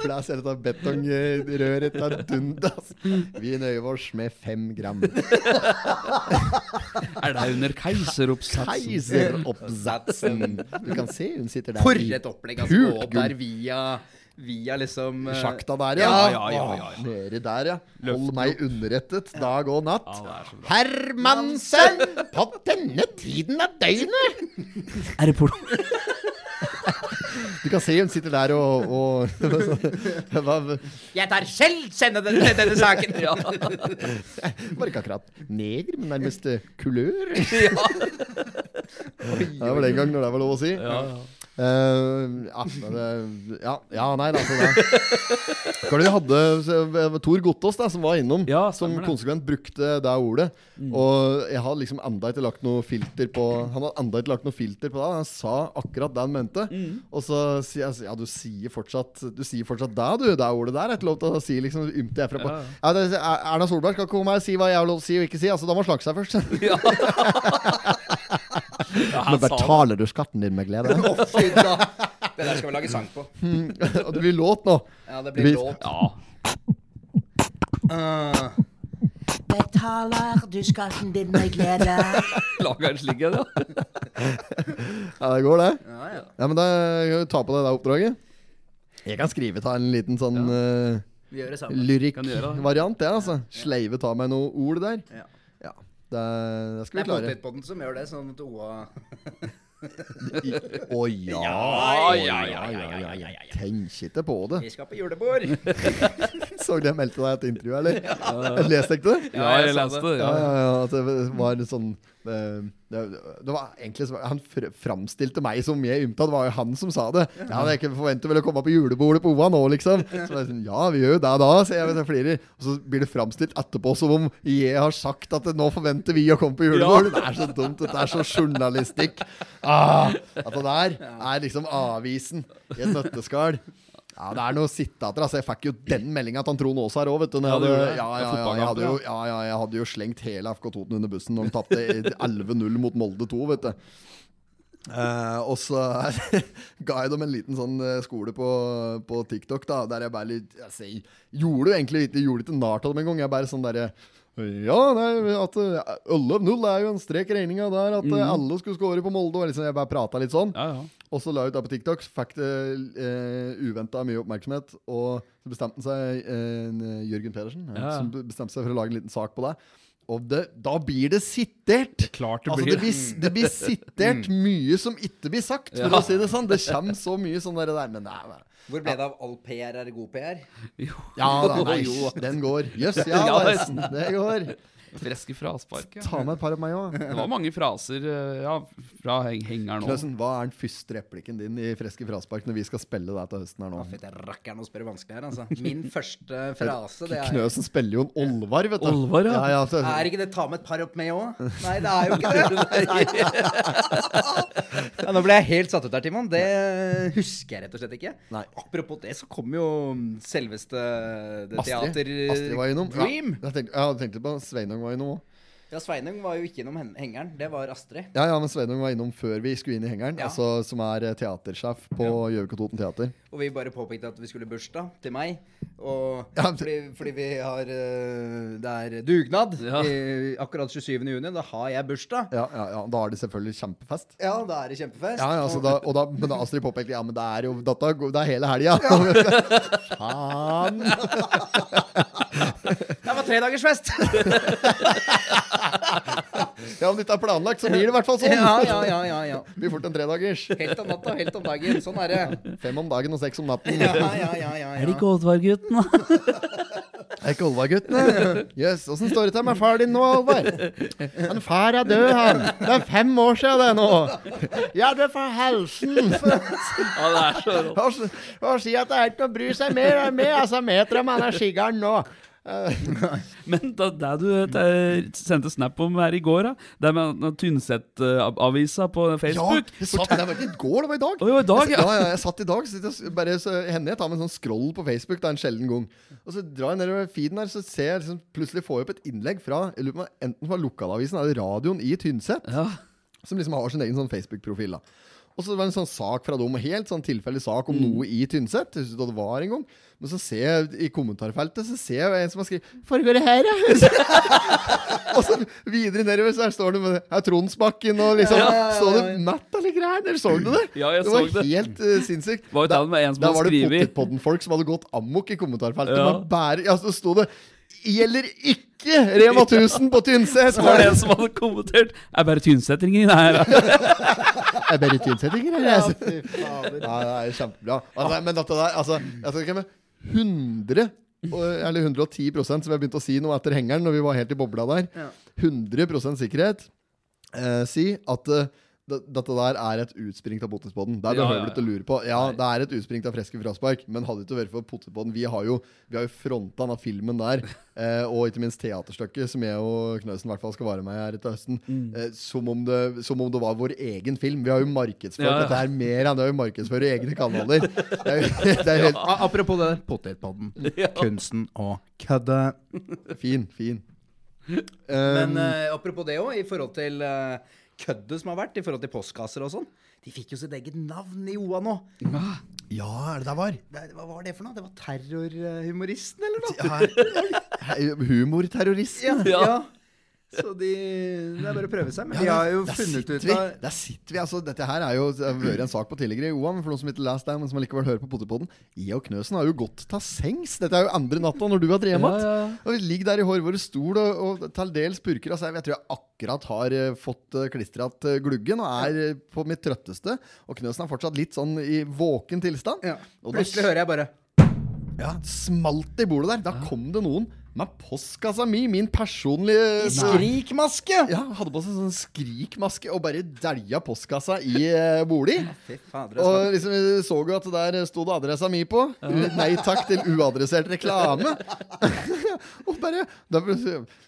A: Blæs hele dette betongrøret eh, av dundas. Vi nøyer oss med fem gram.
C: Er det under keiseroppsatsen?
A: Keiseroppsatsen. Du kan se hun sitter der.
B: For
A: i
B: et opplegg! Altså,
A: pult
B: gå opp
A: gull.
B: der via, via liksom eh,
A: Sjakta der,
B: Ja,
A: ja.
C: ja, ja, ja, ja.
A: Nede der, ja. Hold meg underrettet dag og natt.
C: Ja, det er så bra.
A: Hermansen! På denne tiden av døgnet!
C: Er det porno?
A: Du kan se hun sitter der og, og Det var
B: Jeg tar selv sende den til denne saken!
A: var ikke akkurat neger, men nærmest eh, kulør.
C: Ja.
A: Det var den gang når det var lov å si. Ja, ja. ja, men det- ja, ja, nei da. Så det. Hva var det vi hadde så- Tor Gottaas, da, som var innom,
C: Ja,
A: som
C: stemmer det. Mm.
A: konsekvent brukte det ordet. Og jeg har liksom enda ikke lagt noe filter på Han har enda ikke lagt noe filter på det. Han sa akkurat det han mente.
C: Mm.
A: Og så sier jeg Ja, du sier fortsatt Du sier fortsatt det, du. Det ordet der er ikke lov til å si liksom ymte herfra på.
C: Ja.
A: Ja, det, Erna Solberg skal ikke komme her og si hva jeg har lov til å si og ikke si. Altså, da må hun slakte seg først. Nå
C: Ja, han sa det.
A: betaler du skatten din med glede.
B: Det der skal vi lage sang på.
A: og det blir låt nå.
B: eh, Ja, det
A: Det blir-
B: blir låt.
C: Ja.
B: Ah.
I: Betaler du skatten din med glede?
C: Laga en slik en, ja.
A: Ja, det går, det.
B: Ja, ja.
A: Ja, men da kan du ta på deg det oppdraget. Jeg kan skrive ta en liten sånn eh,
B: Vi gjør det sammen.
C: Kan du gjøre det?
A: lyrikkvariant, jeg, altså. Sleive ta meg noen ord der.
B: Ja.
A: Ja. Det, det skal
B: Det
A: vi
B: er
A: klare.
B: potetpotten som gjør det, sånn at Oa
A: I- Å ja.
B: Ja, ja, ja,
A: ja,
B: ja, ja,
A: ja,
B: ja,
A: ja. Tenk ikke på det.
B: Vi skal på julebord!
A: Så du jeg meldte deg et intervju, eller? Jeg leste ikke det?
C: Ja, jeg leste det.
A: Ja,
C: Ja.
A: ja, ja. At det var en sånn eh, det, det var egentlig så- Han fr- framstilte meg som jeg ymta. Det var jo han som sa det. Ja, det er ikke forventer vel å komme på julebordet på OA nå, liksom. Så jeg sånn, ja, vi gjør jo det da, sier jeg. jeg flirer. Og så blir det framstilt etterpå som om jeg har sagt at nå forventer vi å komme på julebord. Det er så dumt. Dette er så journalistikk. Ah, at det der er liksom avisen i et nøtteskall. Ja, det er noe sittater. Altså, jeg fikk jo den meldinga til han Trond Aas her òg, vet du. Når jeg
B: Ja, du
A: hadde, ja, ja, ja,
B: gjorde det.
A: jeg hadde jo, ja, ja, jeg hadde jo slengt hele FK Toten under bussen når de tapte i 11-0 mot Molde 2, vet du. Eh, og så ga jeg dem en liten sånn eh, skole på, på TikTok, da, der jeg bare litt altså, Jeg gjorde jo egentlig ikke gjorde ikke narr av dem engang. Jeg bare sånn derre ja, nei, at eh, 11-0 er jo en strek i regninga der. At eh, alle skulle score på Molde. Og liksom, jeg bare prata litt sånn.
C: Ja, ja.
A: Og så la jeg ut det på TikTok, så fikk det eh, uventa mye oppmerksomhet. Og så bestemte han seg, eh, Jørgen Pedersen, eh,
C: Ja.
A: som be- bestemte seg for å lage en liten sak på det. Og det, da blir det sitert!
C: Klart det
A: Altså,
C: blir.
A: det, blir, Mm. s- det blir sitert mye som ikke blir sagt, for å si det sånn. Det kommer så mye sånn der, der men nei, nei.
G: Hvor ble det av all PR er god PR?
A: Ja da, nei, den går. Jøss, ja,
C: Ja,
A: forresten, det går.
C: Freske fraspark. Ja.
A: Ta med et par av meg òg.
C: Det var mange fraser eh, ja, fra heng- hengeren òg.
A: Klausen, hva er den første replikken din i Freske fraspark når vi skal spille det til høsten her nå?
G: Fy, det rakker han å spørre vanskelig her, altså. Min første frase, det er
A: Knøsen spiller jo en Olvar, vet du.
C: Olvar, ja.
A: ja, ja så,
G: Er ikke det 'ta med et par opp med' òg? Nei, det er jo ikke det. ja, nå ble jeg helt satt ut der, Timon. Det husker jeg rett og slett ikke.
A: Nei.
G: Apropos det, så kom jo mm, selveste det teater... eh,
A: Astrid, Astrid var innom.
G: Dream.
A: Ja, jeg tenkte, ja, jeg tenkte på Sveinung var innom òg.
G: Ja, Sveinung var jo ikke innom hen- hengeren. Det var Astrid.
A: Ja, ja, men Sveinung var innom før vi skulle inn i hengeren.
G: Ja.
A: Altså, som er eh, teatersjef på Gjøvik og Toten Teater.
G: Og vi bare påpekte at vi skulle i bursdag til meg. Og
A: Ja, men-
G: fordi, fordi vi har eh, Det er dugnad
C: Ja.
G: i, akkurat 27. juni. Da har jeg bursdag.
A: Ja, ja, ja, Da er det selvfølgelig kjempefest.
G: Ja, da er det kjempefest.
A: Ja, ja, så
G: Og-
A: da, og da, men da Astrid påpekte ja, men det er jo dette, går- det er hele helga. Faen!
G: Det var tredagersfest!
A: Ja, om det ikke er planlagt, så blir det i hvert fall sånn.
G: ja, ja, ja, ja, ja.
A: Det blir fort en tredagers.
G: Helt om natta, helt om dagen. Sånn er det.
A: Fem om dagen og seks om natten.
G: Ja, ja, ja, ja,
C: Er det
G: ja.
C: ikke Oddvar-gutten, da?
A: Er ikke Olvar guttene? Jøss, yes, åssen står det til med far din nå, Olvar? Han far er død, han. Det er fem år siden det nå. Ja, det er for helsen.
C: Ja, det er så rått.
A: Og, s- og si at det er ikke noe å bry seg mer med, altså. Metrum, han er skiggeren nå. Eh,
C: Men da, det du eh, sendte snap om her i går, da, det med at Tynset-avisa på Facebook
A: jeg satt, det var ikke i går, det var i dag.
C: Å, det var i dag,
A: ja.
C: ja.
A: ja, ja jeg satt i dag. Så sitter jeg s- bare, så, hender jeg tar med en sånn scroll på Facebook, det er en sjelden gang. Og så drar jeg nedover feeden her, så ser jeg liksom, plutselig får jeg opp et innlegg fra jeg lurer på om det enten var lokalavisen eller radioen i Tynset.
C: ja.
A: som liksom har sin egen sånn Facebook-profil. da. Og så var det en sånn sak fra dem, en helt sånn tilfeldig sak
C: Mm.
A: om noe i Tynset. Jeg husker ikke hva det var en gang. Men så ser jeg i kommentarfeltet så ser jeg en som har skrevet 'Foregår det her', ja? og så videre nedover så her står det med det, her er Tronsbakken og liksom Står det 'Matt' eller greier? Dere så det?
C: Ja, jeg
A: det var
C: så det.
A: helt eh, sinnssykt.
C: Var jo
A: Da-
C: det med en som
A: da
C: hadde
A: var det
C: skrevet-
A: Potetpodden-folk som hadde gått amok i kommentarfeltet.
C: Ja.
A: Men bare, ja, så sto det 'Gjelder ikke Rema 1000 på Tynset'.
C: Så var det en som hadde kommentert Er bare tynsettingene her, da.
A: Det er bare tynnsettinger, eller? Ja, det er jo kjempebra. Altså, men dette der, altså, jeg skal ikke med 100 og- eller 110 som jeg begynte å si nå etter hengeren, når vi var helt i bobla der. 100 sikkerhet eh, si at eh, det- dette der er et utspring av potetspodden. Der
C: Ja,
A: behøver
C: ja,
A: du ikke lure på. Ja, det er et utspring av Freske fraspark, men hadde det ikke vært for potetspodden Vi har jo, vi har jo fronta den av filmen der, eh, og ikke minst teaterstykket, som jeg og Knøsen i hvert fall skal være med i her til høsten,
G: Mm.
A: eh, som, om det, som om det var vår egen film. Vi har jo markedsført
C: Ja, ja.
A: dette her mer enn det vi markedsfører i egne kanaler. Det er jo, det er jo helt
B: A- Apropos det der, potetpodden.
G: Kunsten å kødde.
A: fin, fin.
G: Men eh, apropos det òg, i forhold til eh, køddet som har vært, i forhold til postkasser og sånn. De fikk jo sitt eget navn i OA nå.
A: Ja, er det der var?
G: Det, hva var det for noe? Det var terrorhumoristen, eller noe?
A: Humorterroristen.
G: Ja. Så de Det er bare å prøve seg.
A: Ja,
G: Men de
A: der-
G: har jo
A: der
G: funnet
A: sitter
G: ut
A: vi.
G: av
A: Der sitter vi, altså. Dette her er jo det har vært en sak på tidligere, Johan, for noen som ikke leste den, men som likevel hører på Potipodden. Jeg og Knøsen har jo gått til sengs. Dette er jo andre natta når du har drevet mat.
C: Ja, ja, ja.
A: Og vi ligger der i hår våre stol og, og til dels purker av seg. Jeg tror jeg akkurat har eh, fått uh, klistret eh, gluggen og er eh, på mitt trøtteste. Og Knøsen er fortsatt litt sånn i våken tilstand.
G: ja.
A: Og da
G: Plutselig hører jeg bare
A: ja, smalt det i bordet der. Da kom det noen med postkassa mi, min personlige
G: Skrikmaske!
A: ja, hadde på seg sånn skrikmaske og bare dælja postkassa i eh, bolig.
G: Fy fader, det
A: Og liksom eh, så jo at der sto det adressa mi på. Nei takk til uadressert reklame. Og bare da, ble-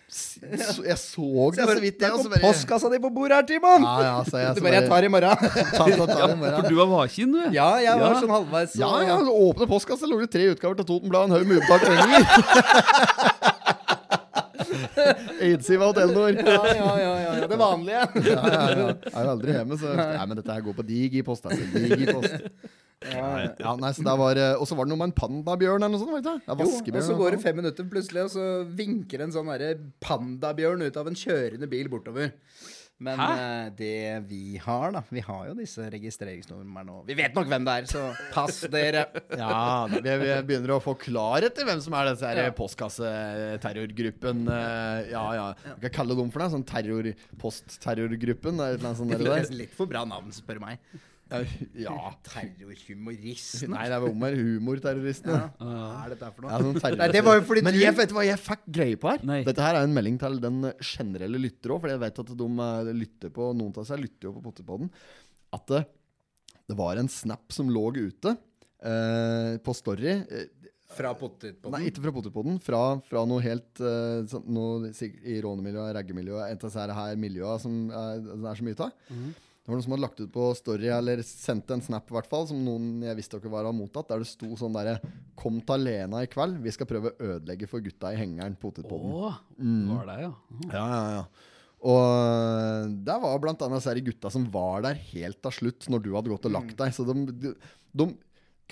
A: s- så, Jeg så det så vidt, jeg. Og så bare
G: Postkassa di på bordet her, Timon!
A: Ja, ja, så jeg,
G: Du
A: så
G: bare, jeg tar i morgen.
A: ta, ta, ta, det i
C: For
A: morgen.
C: du var vaken, du.
G: Ja, jeg var
C: Ja.
G: sånn halvveis.
A: Ja,
G: og-
A: ja, så åpne postkassa, lå det tre utgaver til Totenbladet, en haug med ubetalt regninger. Eidsiva og Telenor.
G: Ja, ja, ja, ja, ja, det vanlige.
A: Ja, ja, ja. Jeg er jo aldri hjemme, så Nei, men dette her går på digi post. Altså. Digi post. Ja, nei, så det var, eh, og så var det noe med en pandabjørn eller noe sånt? Var det ikke? det? Ja,
G: Jo,
A: vaskebjørn. sånn.
G: og så
A: eller
G: går
A: noe
G: det fem minutter plutselig, og så vinker en sånn derre pandabjørn ut av en kjørende bil bortover. Men eh, det vi har, da Vi har jo disse registreringsnumrene og Vi vet nok hvem det er, så pass dere.
A: sånt. Ja, da, vi, vi begynner å få klarhet i hvem som er disse her eh, postkasseterrorgruppen. eh, Ja, ja. Hva kan jeg kalle dem for noe? Sånn terror, postterrorgruppen? eller et eller annet sånt
G: Det
A: der
G: er
A: der.
G: nesten litt for bra navn, spør du meg.
A: Ja.
G: Terrorhumoristen.
A: Nei, det er vel om her humorterroristene.
G: Hva er dette her for noe?
A: Ja, sånn terror-
G: Nei, det var jo fordi
A: Men
G: du-
A: jeg vet du hva jeg fikk greie på her.
C: Nei.
A: Dette her er en melding til den generelle lytter òg, for jeg vet at de eh, lytter på Noen av seg lytter jo på Pottipodden. At eh, det var en snap som lå ute eh, på Story. eh,
G: Fra potetpodden.
A: Nei, ikke fra Pottipodden. Fra, fra noe helt eh, sånn- noe, sikkert I rånemiljøet, raggemiljøet, et av disse her- her miljøene som er, det er så mye av. Det var noen som hadde lagt ut på Story, eller sendt en snap, i hvert fall, som noen jeg visste dere var hadde mottatt, der det sto sånn derre Kom til Lena i kveld, vi skal prøve å ødelegge for gutta i hengeren, potetpodden.
C: Å,
A: Mm.
C: var det, ja.
A: Ja, ja, ja. Og eh, der var blant annet disse her gutta som var der helt til slutt, når du hadde gått og
G: Mm.
A: lagt deg. Så de, de, de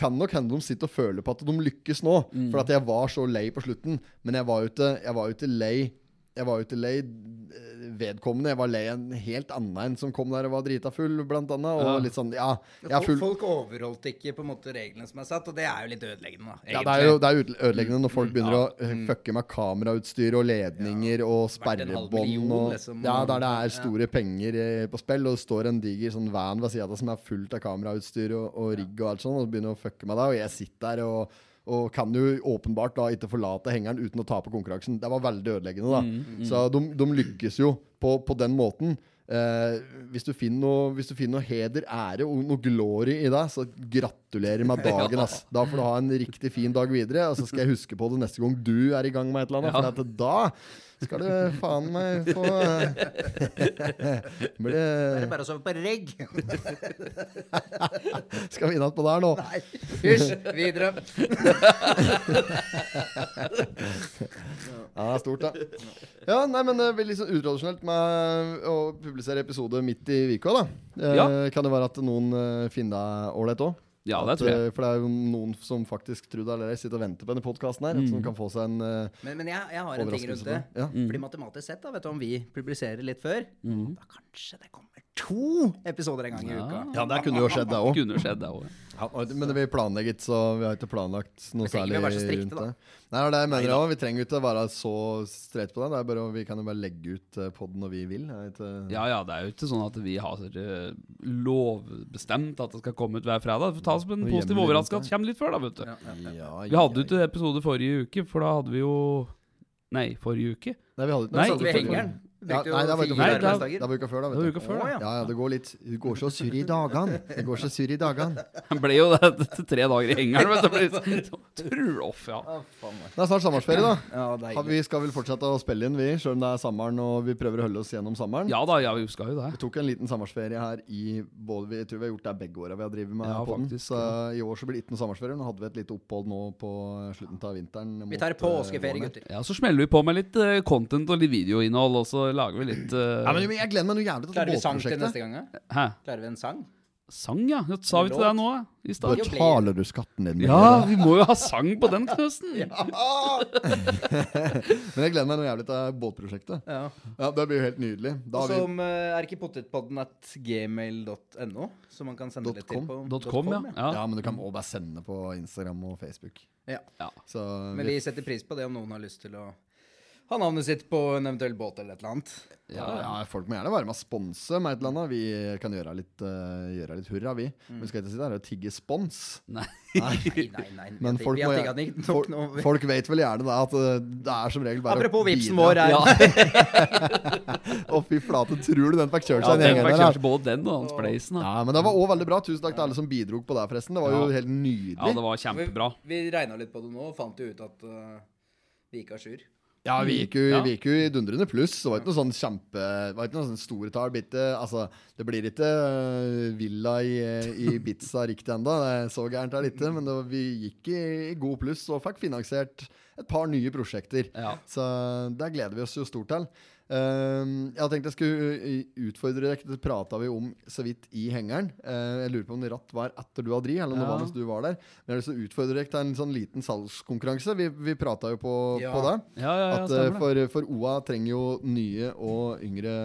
A: kan nok hende de sitter og føler på at de lykkes nå, for
G: Mm.
A: at jeg var så lei på slutten. Men jeg var jo ikke- jeg var jo ikke lei. Jeg var jo ikke lei eh, vedkommende. Jeg var lei en helt annen enn som kom der og var drita full, blant annet. Og litt sånn, ja, jeg er
G: Folk,
A: full.
G: folk overholdt ikke på en måte reglene som er satt, og det er jo litt ødeleggende. da,
A: Ja, det er jo det er jo
G: Mm,
A: ødeleggende når folk begynner å eh, fucke med kamerautstyr og ledninger og
G: Verdt Mm. en halv
A: sperrebånd.
G: million,
A: Og,
G: liksom.
A: ja, der det er store penger eh, på spill, og det står en diger sånn van ved sida av deg som er fullt av kamerautstyr og, og rigg og alt sånn, og så begynner å fucke med deg, og jeg sitter der og, og kan jo åpenbart da ikke forlate hengeren uten å tape konkurransen. Det var veldig ødeleggende, da. Så de, de lykkes jo på, på den måten. Eh, hvis, du finner noe, hvis du finner noe heder, ære og noe glory i deg, så gratulerer med dagen. Ass. Da får du ha en riktig fin dag videre, og så skal jeg huske på det neste gang du er i gang med et eller annet. For at da skal du faen meg få eh, Blir
G: Det er
A: det-
G: bare å sove på regg.
A: Skal vi inn igjen på der nå?
G: Nei, Hysj, videre.
A: Ja, det er stort, det. Ja, nei, men det blir litt sånn utradisjonelt med å publisere episode midt i uka, da. Eh,
C: Ja.
A: Kan det være at noen eh, finner deg ålreit òg?
C: Ja, det
A: At,
C: tror jeg.
A: eh, For det er jo noen som faktisk tror det allerede sitter og venter på denne podkasten her. Som kan få seg en eh,
G: Men, men jeg, jeg har en ting rundt
A: overraskelse.
G: det.
A: på. Ja.
C: Mm.
G: Fordi matematisk sett, da, vet du om vi publiserer litt før, da kanskje det kommer to episoder en gang i uka.
A: ja, det kunne jo skjedd, det
C: Det
A: òg.
C: kunne skjedd, det òg.
A: Men vi planlegger ikke, så vi har ikke planlagt noe
G: Vi trenger
A: særlig
G: ikke være så strikte,
A: rundt
G: da.
A: det. Nei, det er det jeg mener også. Vi trenger jo ikke være så streit på det. det er bare, å- vi kan jo bare legge ut poden når vi vil. eh, Det er ikke-
C: Ja ja, det er jo ikke sånn at vi har eh, lovbestemt at det skal komme ut hver fredag. Vi får ta oss med en
A: Noe hjemmelig
C: positiv
A: rundt
C: overraskelse.
A: det.
C: Kommer litt før, da, vet du.
A: ja,
C: Vi hadde jo ikke episode forrige uke, for da hadde vi jo Nei, forrige uke.
A: Nei, vi hadde ikke
C: Nei,
A: Satt
G: Vi
C: ikke
A: ut-
G: henger den.
A: Ja,
G: Brukte jo
A: nei, det var
G: fire
A: ikke før.
C: Nei, det er-
G: arbeidsdager.
A: Det var uka før, da.
C: Det var
A: vet
C: uka før, da.
A: ja. ja, det går litt Du går så sur i dagene. Det går så sur i dagene.
C: Han ble jo det etter tre dager i hengeren. Vet du. sånn- Ble så- Truloff, ja.
A: Det er snart sommerferie, da.
G: Ja, det er
A: Har- Vi skal vel fortsette å spille inn, vi, sjøl om det er sommeren og vi prøver å holde oss gjennom sommeren.
C: Ja da, ja, vi skal jo det.
A: Vi tok en liten sommerferie her i både, vi- Jeg tror vi har gjort det begge åra vi har drevet med
C: Ja,
A: podden.
C: faktisk,
A: Så eh, i år så blir det ikke noe sommerferie. Nå hadde vi et lite opphold nå på slutten av vinteren. eh,
G: Vi tar påskeferie, gutter.
C: Ja, Så smeller vi på med litt eh, content og litt videoinnhold, og så lager vi litt eh,
A: Ja, men jeg gleder meg noe jævlig til
G: Klarer vi sang til
A: båtprosjektet.
G: neste gang? da?
C: Hæ?
G: Klarer vi en sang?
C: Sang, ja. ja. Sa vi til deg nå ja, i stad?
A: Betaler du skatten din?
C: Ja, vi må jo ha sang på den, Knøsen.
A: Men jeg gleder meg noe jævlig til båtprosjektet.
G: Ja.
A: Ja, Det blir jo helt nydelig. Da
G: Og
A: har vi
G: som eh, er ikke potetpodden at gmail.no, som man kan sende
A: Dot
G: litt til
A: com.
G: på.
C: Dot com, ja. ja.
A: Ja, men du kan også bare sende på Instagram og Facebook.
G: ja.
A: Så
G: Men vi setter pris på det om noen har lyst til å ha navnet sitt på en eventuell båt eller et eller annet.
A: ja, ja, folk må gjerne være med og sponse med et eller annet. Vi kan gjøre litt, eh, gjøre litt hurra, vi.
G: Mm.
A: Men vi skal ikke sitte her og tigge spons.
C: Nei.
G: Nei, nei, nei. vi
A: Men
G: har-
A: folk,
G: vi
A: må, gjerne-
G: har digga den ikke nok
A: folk,
G: nå.
A: folk vet vel gjerne da at eh, det er som regel bare
G: Apropos vipsen
A: bidra.
G: vår er
C: Ja,
A: Å, fy flate, tror du den fikk kjørt
C: ja
A: seg en
C: den
A: egen
C: fikk
A: del?
C: kjørt både den og hans Blazen. da.
A: Ja, men det var òg veldig bra. Tusen takk til alle som bidro på det, forresten. Det var jo
C: Ja.
A: helt nydelig.
C: Ja, det var kjempebra.
G: Vi, vi regna litt på det nå og fant jo ut at eh, Vi gikk à jour.
A: Ja, vi gikk jo,
C: Ja.
A: vi gikk jo i dundrende pluss. Det var ikke noe sånn kjempe Det var ikke noe sånn store tall. Bitte, altså, det blir ikke øh, villa i, i Ibiza riktig ennå. Så gærent er det ikke. Men det var, vi gikk i, i god pluss og fikk finansiert et par nye prosjekter.
C: Ja.
A: Så der gleder vi oss jo stort til. Ehm, jeg tenkte jeg skulle eh, utfordre deg. Det prata vi om så vidt i hengeren. Eh, jeg lurer på om det ratt var etter du hadde ri, eller om det
C: Ja.
A: var mens du var der. Men jeg har lyst til å utfordre deg til en sånn liten salgskonkurranse. Vi, vi prata jo på,
G: Ja.
A: på det.
C: Ja, ja, ja,
A: At, eh,
C: stemmer det.
A: for, for OA trenger jo nye og yngre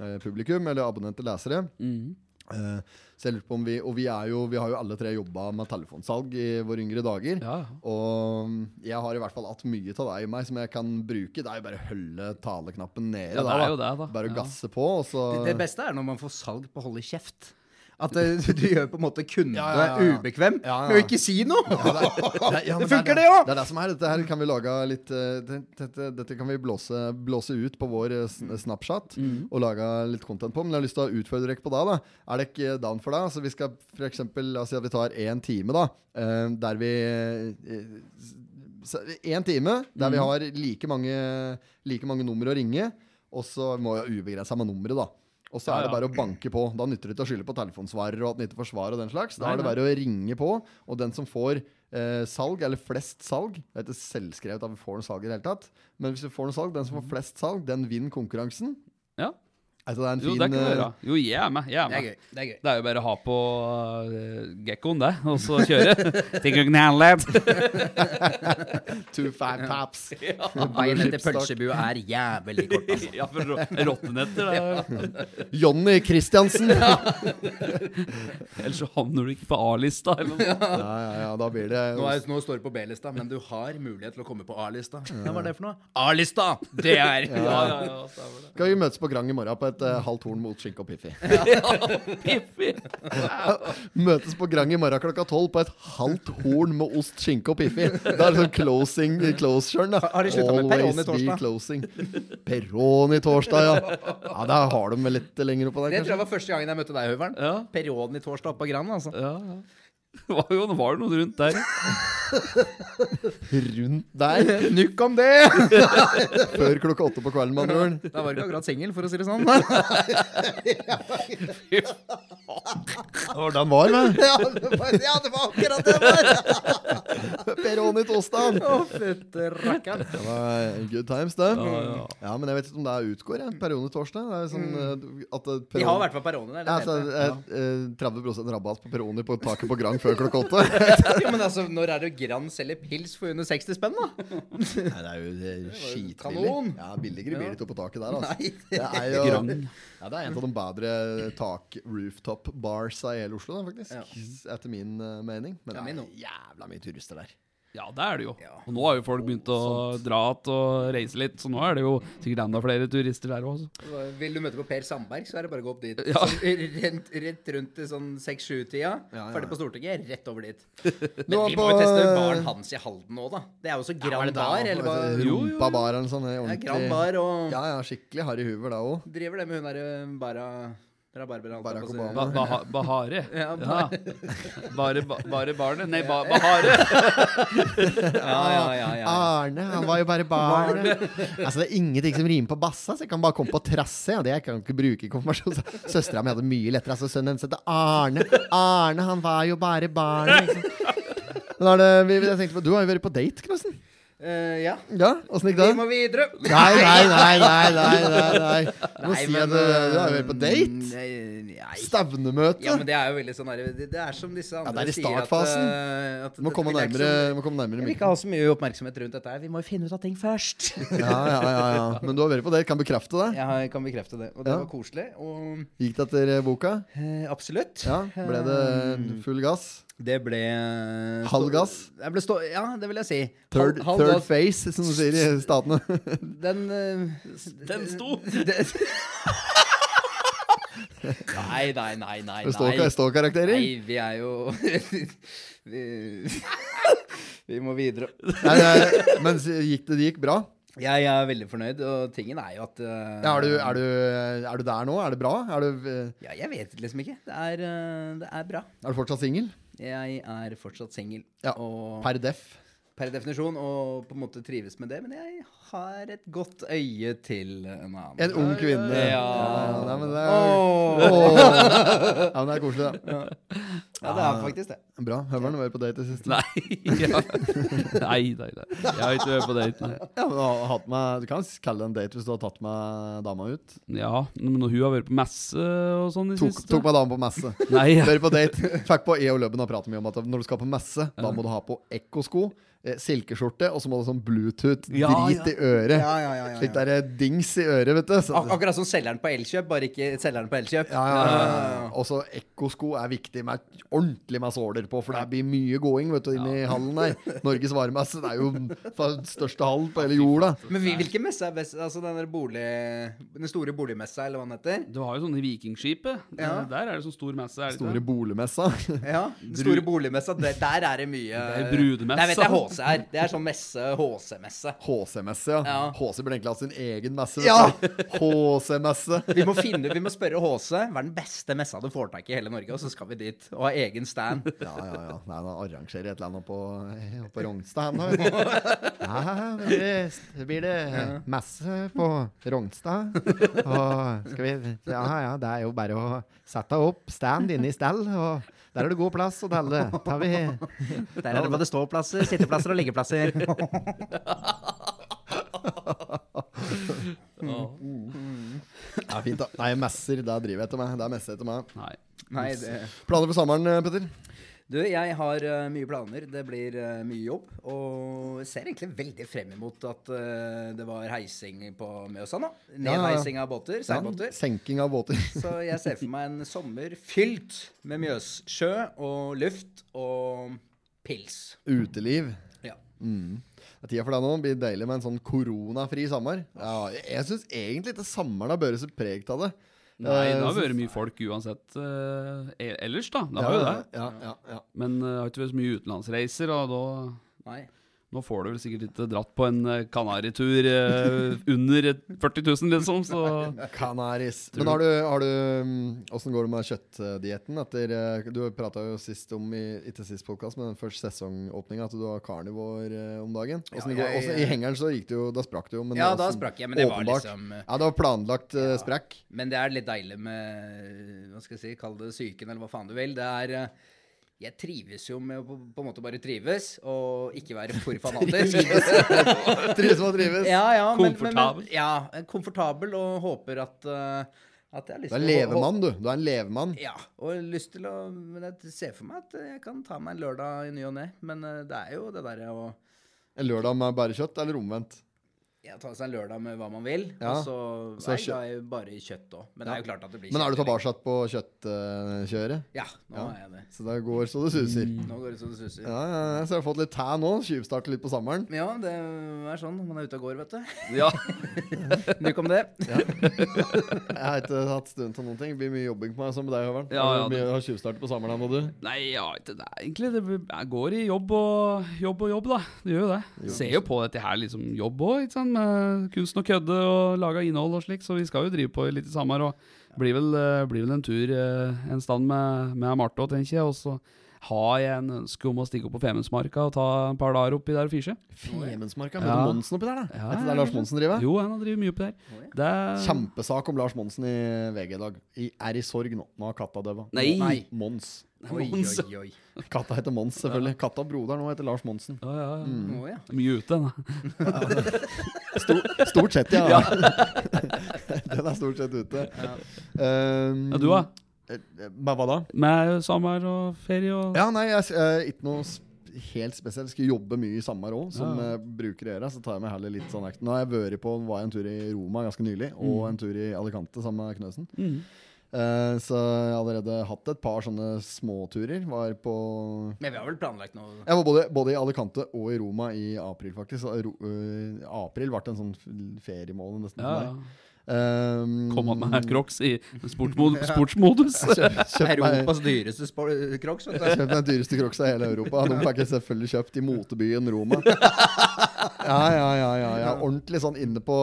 A: eh, publikum, eller abonnenter lesere.
C: Mhm.
A: Eh, så jeg lurer på om vi Og vi, er jo, vi har jo alle tre jobba med telefonsalg i våre yngre dager.
C: Ja, ja.
A: Og mm, jeg har i hvert fall hatt mye av deg i meg som jeg kan bruke. Det er jo bare å holde taleknappen nede.
C: Ja, det
A: da,
C: er
A: da.
C: jo det, da.
A: Bare å
C: Ja.
A: gasse på, og så
G: Det, det beste er når man får salg på å holde kjeft. At eh, du gjør på en måte kunden
A: Ja, ja, ja, ja.
G: ubekvem
A: Ja, ja.
G: med å ikke si noe!
A: Ja, det, er- det, er- ja, men
G: Det funker
A: er-
G: det også.
A: Det er det som er. Dette her kan vi lage litt eh, det- Dette, dette kan vi blåse, blåse ut på vår eh, sn- Snapchat
G: Mm.
A: og lage litt content på. Men jeg har lyst til å utfordre dere på det. da Er dere ikke down for det? Så vi skal for eksempel, La oss si at vi tar én time, da. eh, Der vi eh, s- En time der
C: Mhm.
A: vi har like mange, like mange nummer å ringe. Og så må jeg ubegrense med nummeret, da. Og så
C: Ja,
A: er det
C: ja.
A: bare å banke på. Da nytter det ikke å skylde på telefonsvarer og at den ikke får svar og den slags. Da
C: Nei,
A: er det
C: nei.
A: bare å ringe på, og den som får eh, salg, eller flest salg Det er ikke selvskrevet at vi får noe salg i det hele tatt, men hvis vi får noe salg, den som
C: Mhm.
A: får flest salg, den vinner konkurransen.
C: ja.
A: Altså, det er en
C: Jo,
A: fin
C: det kan du
A: eh,
C: gjøre. Jo, jeg er med. Jeg er
G: Det er
C: med.
G: gøy. det er gøy
C: Det er jo bare å ha på uh, gekkoen, det, og så kjøre. Tenk å kunne handle det.
A: Two five taps.
G: Veien
A: Blue
G: etter
A: chip stock.
G: pølsebua er jævlig kort. altså.
C: Ja, for rå- rottenetter. det er-
A: Jonny Christiansen. ja,
C: Ellers så havner du ikke på A-lista. eller noe.
A: ja, ja, da blir det
G: Nå, er, nå står det på B-lista, men du har mulighet til å komme på A-lista. Hva var det for noe? A-lista! Det er
C: Ja, ja, ja, stemmer det.
A: Skal vi møtes på Grang i morgen på et eh, halvt horn mot skinke og piffi?
C: Piffi.
A: Møtes på Grang i morgen klokka tolv på et halvt horn med ost, skinke og piffi. Det er sånn closing closeren, da.
G: Har de sluttet med
A: Always
G: pepperoni
A: be
G: torsdag?
A: closing. Peroni torsdag, ja. Ja, Der har de vel litt lenger oppå der,
G: Det tror
A: kanskje.
G: jeg var første gangen jeg møtte deg, Høveren.
C: Ja,
G: Perioden i torsdag oppe på Gran, altså.
C: ja, ja. Det var jo det var jo noe rundt der.
A: Rundt der.
G: Nukk om det!
A: Før klokka åtte på kvelden, med andre ord.
G: Da var du ikke akkurat singel, for å si det sånn.
A: Det var den var, vel?
G: Ja, det var, ja, det var akkurat det der!
A: Peroni torsdag.
G: Å, fytte rakkeren.
A: Det var good times, det.
C: Ja, ja.
A: Ja, men jeg vet ikke om det er utgår, jeg. Peroni torsdag. Det er jo sånn eh, at eh,
G: Vi har i
A: peroni-
G: hvert fall Peroni der.
A: ja,
G: Det
A: altså,
G: vet jeg.
A: eh, eh, 30 rabatt på Peroni på taket på Grang før klokka åtte.
G: Ja, men altså, når er det Gran selger pils for under 60 spenn, da?
A: Nei, det er jo det er skitbillig.
G: kanon.
A: Ja, billigere blir det ikke oppå taket der, altså.
G: Nei.
A: Det er jo
C: Grang.
A: ja, det er en av de bedre tak-rooftop-barsa i hele Oslo, da, faktisk. Etter min eh, mening. Men
G: Ja, min
A: det
G: også.
A: er jævla mye turister der.
C: Ja, det er det jo. Og nå har jo folk begynt å dra igjen og reise litt, så nå er det jo sikkert enda flere turister der òg.
G: Vil du møte på Per Sandberg, så er det bare å gå opp dit.
C: Ja.
G: Sånn, Rent, rett rundt til sånn 6-7-tida. Ferdig på Stortinget, rett over dit. Men
A: Nå
G: vi
A: på-
G: må jo teste baren hans i Halden nå, da. Det er jo så Gran Bar, eller hva?
A: Rumpa
C: Jo, jo, jo.
A: bar eller noe sånt. eh,
G: Ja,
A: Ordentlig.
G: Gran Bar og
A: Ja, ja, skikkelig harry hoover da òg.
G: Driver det med hun derre Bara Rabarbera holdt jeg
A: Barack
G: på å si.
A: Obama.
C: Ba Baha- Bahare.
G: Ja,
C: Ja. Bare, ba bare barnet? Nei, ba Bahare.
G: Ja, ja, ja, ja, ja.
A: Arne, han var jo bare barn. altså, det er ingenting som rimer på bassa, så jeg kan bare komme på trasse. Og det jeg kan ikke bruke i konfirmasjon. Så Søstera mi hadde mye lettere. Altså, sønnen hennes heter Arne. Arne, han var jo bare barn. Liksom. Men Arne, vi, jeg tenkte på, du har jo vært på date, Knossen.
G: Eh, ja.
A: Ja, åssen gikk det?
G: Vi må videre.
A: Nei, nei, nei, nei, nei, nei, nei. Du må
G: Nei,
A: si
G: men, eh,
A: at eh, du, du har jo vært på date.
G: Nei, nei.
A: Stevnemøte.
G: Ja, men det er jo veldig sånn der, det, det er som disse andre
A: det er i
G: sier at,
A: startfasen.
G: eh, at
A: du må komme
G: vi er ikke
A: nærmere, du
G: så-
A: må komme nærmere
G: Jeg vil
A: mikken.
G: ikke ha så mye oppmerksomhet rundt dette her. Vi må jo finne ut av ting først.
A: Ja, ja, ja, ja. Men du har vært på date, kan bekrefte det.
G: Jeg kan bekrefte det. Og det
A: Ja.
G: var koselig. Og
A: Gikk det etter eh, boka?
G: eh, absolutt.
A: Ja, Ble det full gass?
G: Hmm. Det ble eh,
A: Halv
G: stå-
A: gass?
G: Jeg ble stå, ja, det vil jeg si.
A: Third,
G: Halv- halv
A: third
G: gass.
A: face, som de sier i statene.
G: Den eh,
C: Den sto.
G: det- Nei, nei, nei, nei.
A: Med stå-
G: nei.
A: Ståkarakterer.
G: Nei, vi er jo vi, vi må videre.
A: Nei, nei, Men s- gikk det, det gikk bra?
G: Jeg er veldig fornøyd, og tingen er jo at eh,
A: Ja, Er du, er, du, er du der nå? Er det bra? Er du, eh,
G: Ja, jeg vet liksom ikke. Det er, eh, det er bra.
A: er du fortsatt singel?
G: Jeg er fortsatt singel.
A: Ja.
G: Og
A: Per def.
G: per definisjon, og på en måte trives med det. Men jeg har et godt øye til en annen.
A: En ung kvinne.
G: Ja.
A: nei, men det er,
G: Åh.
A: Åh. ja, men det er koselig, da.
G: Ja, det
C: Ah.
G: er faktisk det.
A: Bra. Høveren var jo på date i siste.
C: Nei, ja. nei, nei, nei. Jeg har ikke vært på date. nei.
A: Ja, men du, har hatt med, du kan kalle det en date hvis du har tatt med dama ut.
C: Ja, men når hun har vært på messe og sånn i
A: Tok,
C: siste
A: tok med dama på messe.
C: Nei, ja.
A: Dør på date. Fikk på EO Lubben og pratet mye om at når du skal på messe, da må du ha på ekkosko, eh, silkeskjorte, og så må du ha sånn Bluetooth-drit
C: Ja, ja.
A: i øret.
G: Ja, ja, ja, ja, ja.
A: Slik der eh, dings i øret, vet du. Så,
C: Ah.
G: Ak akkurat som selgeren på Elkjøp, bare ikke selgeren på Elkjøp.
A: ja, ja, ja. Og så ekkosko er viktig med ordentlig med såler på, for det blir mye gåing vet du, inn i hallen her. Norges varemesse, det er jo den største hallen på hele jorda.
G: Men vi- hvilken messe er best? Altså den, der bolig, den store boligmessa, eller hva den heter?
C: Du har jo sånne Vikingskipet.
G: Ja.
C: Der er det sånn stor messe. Er det
A: Store
C: ikke?
A: boligmessa.
G: Ja, den store boligmessa. Der, der er det mye
C: Det er brudemessa.
G: Nei, vet du, det er HCR. Det er sånn messe, HC-messe.
A: HC-messe, ja.
G: Ja.
A: HC burde egentlig hatt sin egen messe.
G: Ja.
A: HC-messe.
G: Vi må, finne, vi må spørre HC hva er den beste messa du får tak i i hele Norge, og så skal vi dit og ha egen stand.
A: Ja, ja, ja. Nei, da arrangerer jeg et eller annet på, på Rognstad her nå. Ja, men det blir det messe på Rognstad. Og skal vi Ja, ja, det er jo bare å sette opp stand inne i stell, og der er det god plass å telle. Tar vi
G: Der er det både ståplasser, sitteplasser og liggeplasser.
A: Ja, fint, da. Nei, messer, det driver jeg etter meg. Det er messe etter meg.
C: Nei.
G: Nei, det
A: Planer for sommeren, eh, Petter?
G: Du, jeg har eh, mye planer. Det blir eh, mye jobb. Og jeg ser egentlig veldig frem imot at eh, det var heising på Mjøsa nå.
A: ja, ja.
G: Nedheising av båter. Seilbåter.
A: Senking av båter.
G: Så jeg ser for meg en sommer fylt med Mjøssjø og luft og pils.
A: Uteliv. Mm.
G: Ja.
A: Det er Tida for deg nå blir deilig med en sånn koronafri sommer. Ja, jeg syns egentlig ikke sommeren har båret så preg av det.
C: Nei,
A: Eh,
C: det har
A: så-
C: vært mye folk uansett eh, e- ellers, da. Det har jo det.
A: Ja, ja, ja.
C: Men eh, det har ikke vært så mye utenlandsreiser, og da
G: Nei.
C: nå får du vel sikkert ikke dratt på en eh, kanaritur eh, under 40 000, liksom, så
A: Canaris. Men har du, har du mm, Hvordan går det med kjøttdietten? Etter, eh, du prata jo sist om, i, ikke sist podcast, men den første sesongåpninga, at du har karnivor eh, om dagen. Hvordan
G: Ja,
A: går,
G: jeg-
A: hvordan- I hengeren så gikk det jo Da sprakk det jo. men
G: Ja, da
A: hvordan-
G: sprakk jeg, men det var
A: åpenbart.
G: liksom, eh,
A: Ja, det var planlagt eh, sprekk.
G: Men det er litt deilig med Hva skal jeg si? Kall det psyken, eller hva faen du vil. Det er eh, jeg trives jo med å på, på en måte bare trives, og ikke være for fanatisk.
A: Trives og trives.
G: Ja, ja, men- Men,
C: Komfortabel.
G: men, ja, komfortabel og håper at, eh, at jeg har lyst
A: Du er en
G: til å-
A: levemann, du. Du er en levemann.
G: Ja, og lyst til å Men jeg ser for meg at jeg kan ta meg en lørdag i ny og ne, men eh, det er jo det derre å
A: En lørdag med bare kjøtt, eller omvendt?
G: ja, ta seg en lørdag med hva man vil,
A: Ja.
G: og så
A: Så er
G: er jeg glad i bare i kjøtt òg. Men det er jo klart at det blir
A: Men er du
G: kjøtt.
A: tilbake på kjøttkjøret?
G: Ja, nå
A: Ja.
G: er jeg det.
A: Så det går så det suser.
C: Mm.
G: Nå går det så det suser.
A: Ja, ja, ja, så jeg har fått litt tæ nå. Tjuvstarter litt på sommeren.
G: Ja, det er sånn når man er ute og går, vet du.
C: ja.
G: Nok om det.
A: Jeg har ikke hatt stund til noen ting. Det blir mye jobbing på meg som med deg, Høveren.
C: Ja, ja,
A: Har du mye- Har tjuvstarter på sommeren ennå, du?
C: Nei, ja, det er egentlig Det jeg går i jobb og jobb og jobb, da. Det gjør jo det. Ser jo på dette her liksom jobb òg, ikke sant. Med kunsten og kødde og laga innhold og slik, så vi skal jo drive på litt i samme Og blir vel, eh, blir vel en tur eh, en stand med, med Marte òg, tenker jeg. Og så har jeg en ønske om å stikke opp på Femundsmarka og ta et par dager oppi der og fisje.
A: Femundsmarka.
C: Ja.
A: Møter Monsen oppi der, da.
C: Ja,
A: Er ikke
C: ja,
A: det Lars Monsen driver?
C: Jo, han har drevet mye oppi der. Det er
A: Kjempesak om Lars Monsen i VG i dag. I, er i sorg nå. Nå har katta dødd.
C: Nei.
A: Mons.
G: Oi,
C: Mons.
G: oi, oi.
A: Katta heter Mons, selvfølgelig. Katta og broderen nå heter Lars Monsen.
C: Ja, ja, ja.
A: Mm.
G: Å, ja.
C: Mye ute, da.
A: Stor- Stort sett, ja. Den er stort sett ute. Um,
C: Ja, du, da?
A: Eh, Med hva da?
C: Med sommer og ferie og
A: Ja, nei, jeg, eh, ikke noe sp helt spesielt. Skal jobbe mye i sommer òg, som
C: Ja.
A: eh, bruker å gjøre. Så tar jeg meg heller litt sånn action. Nå har jeg vært på var jeg en tur i Roma ganske nylig, og en tur i Alicante sammen med Knøsen. Eh, så jeg har allerede hatt et par sånne småturer. Var på
G: Men vi har vel planlagt noe
A: jeg var både, både i Alicante og i Roma i april, faktisk. Og Ro, eh, april ble en sånn f- feriemåned nesten
C: ja,
A: for meg.
C: ja.
A: Um,
C: Kom an med crocs i sportsmod sportsmodus.
A: Kjøpt meg,
G: Europas dyreste spo- crocs. vet du.
A: kjøpt meg den dyreste crocsa i hele Europa. De fikk jeg selvfølgelig kjøpt i motebyen Roma. Ja, ja, ja. ja, ja. Ordentlig sånn inne på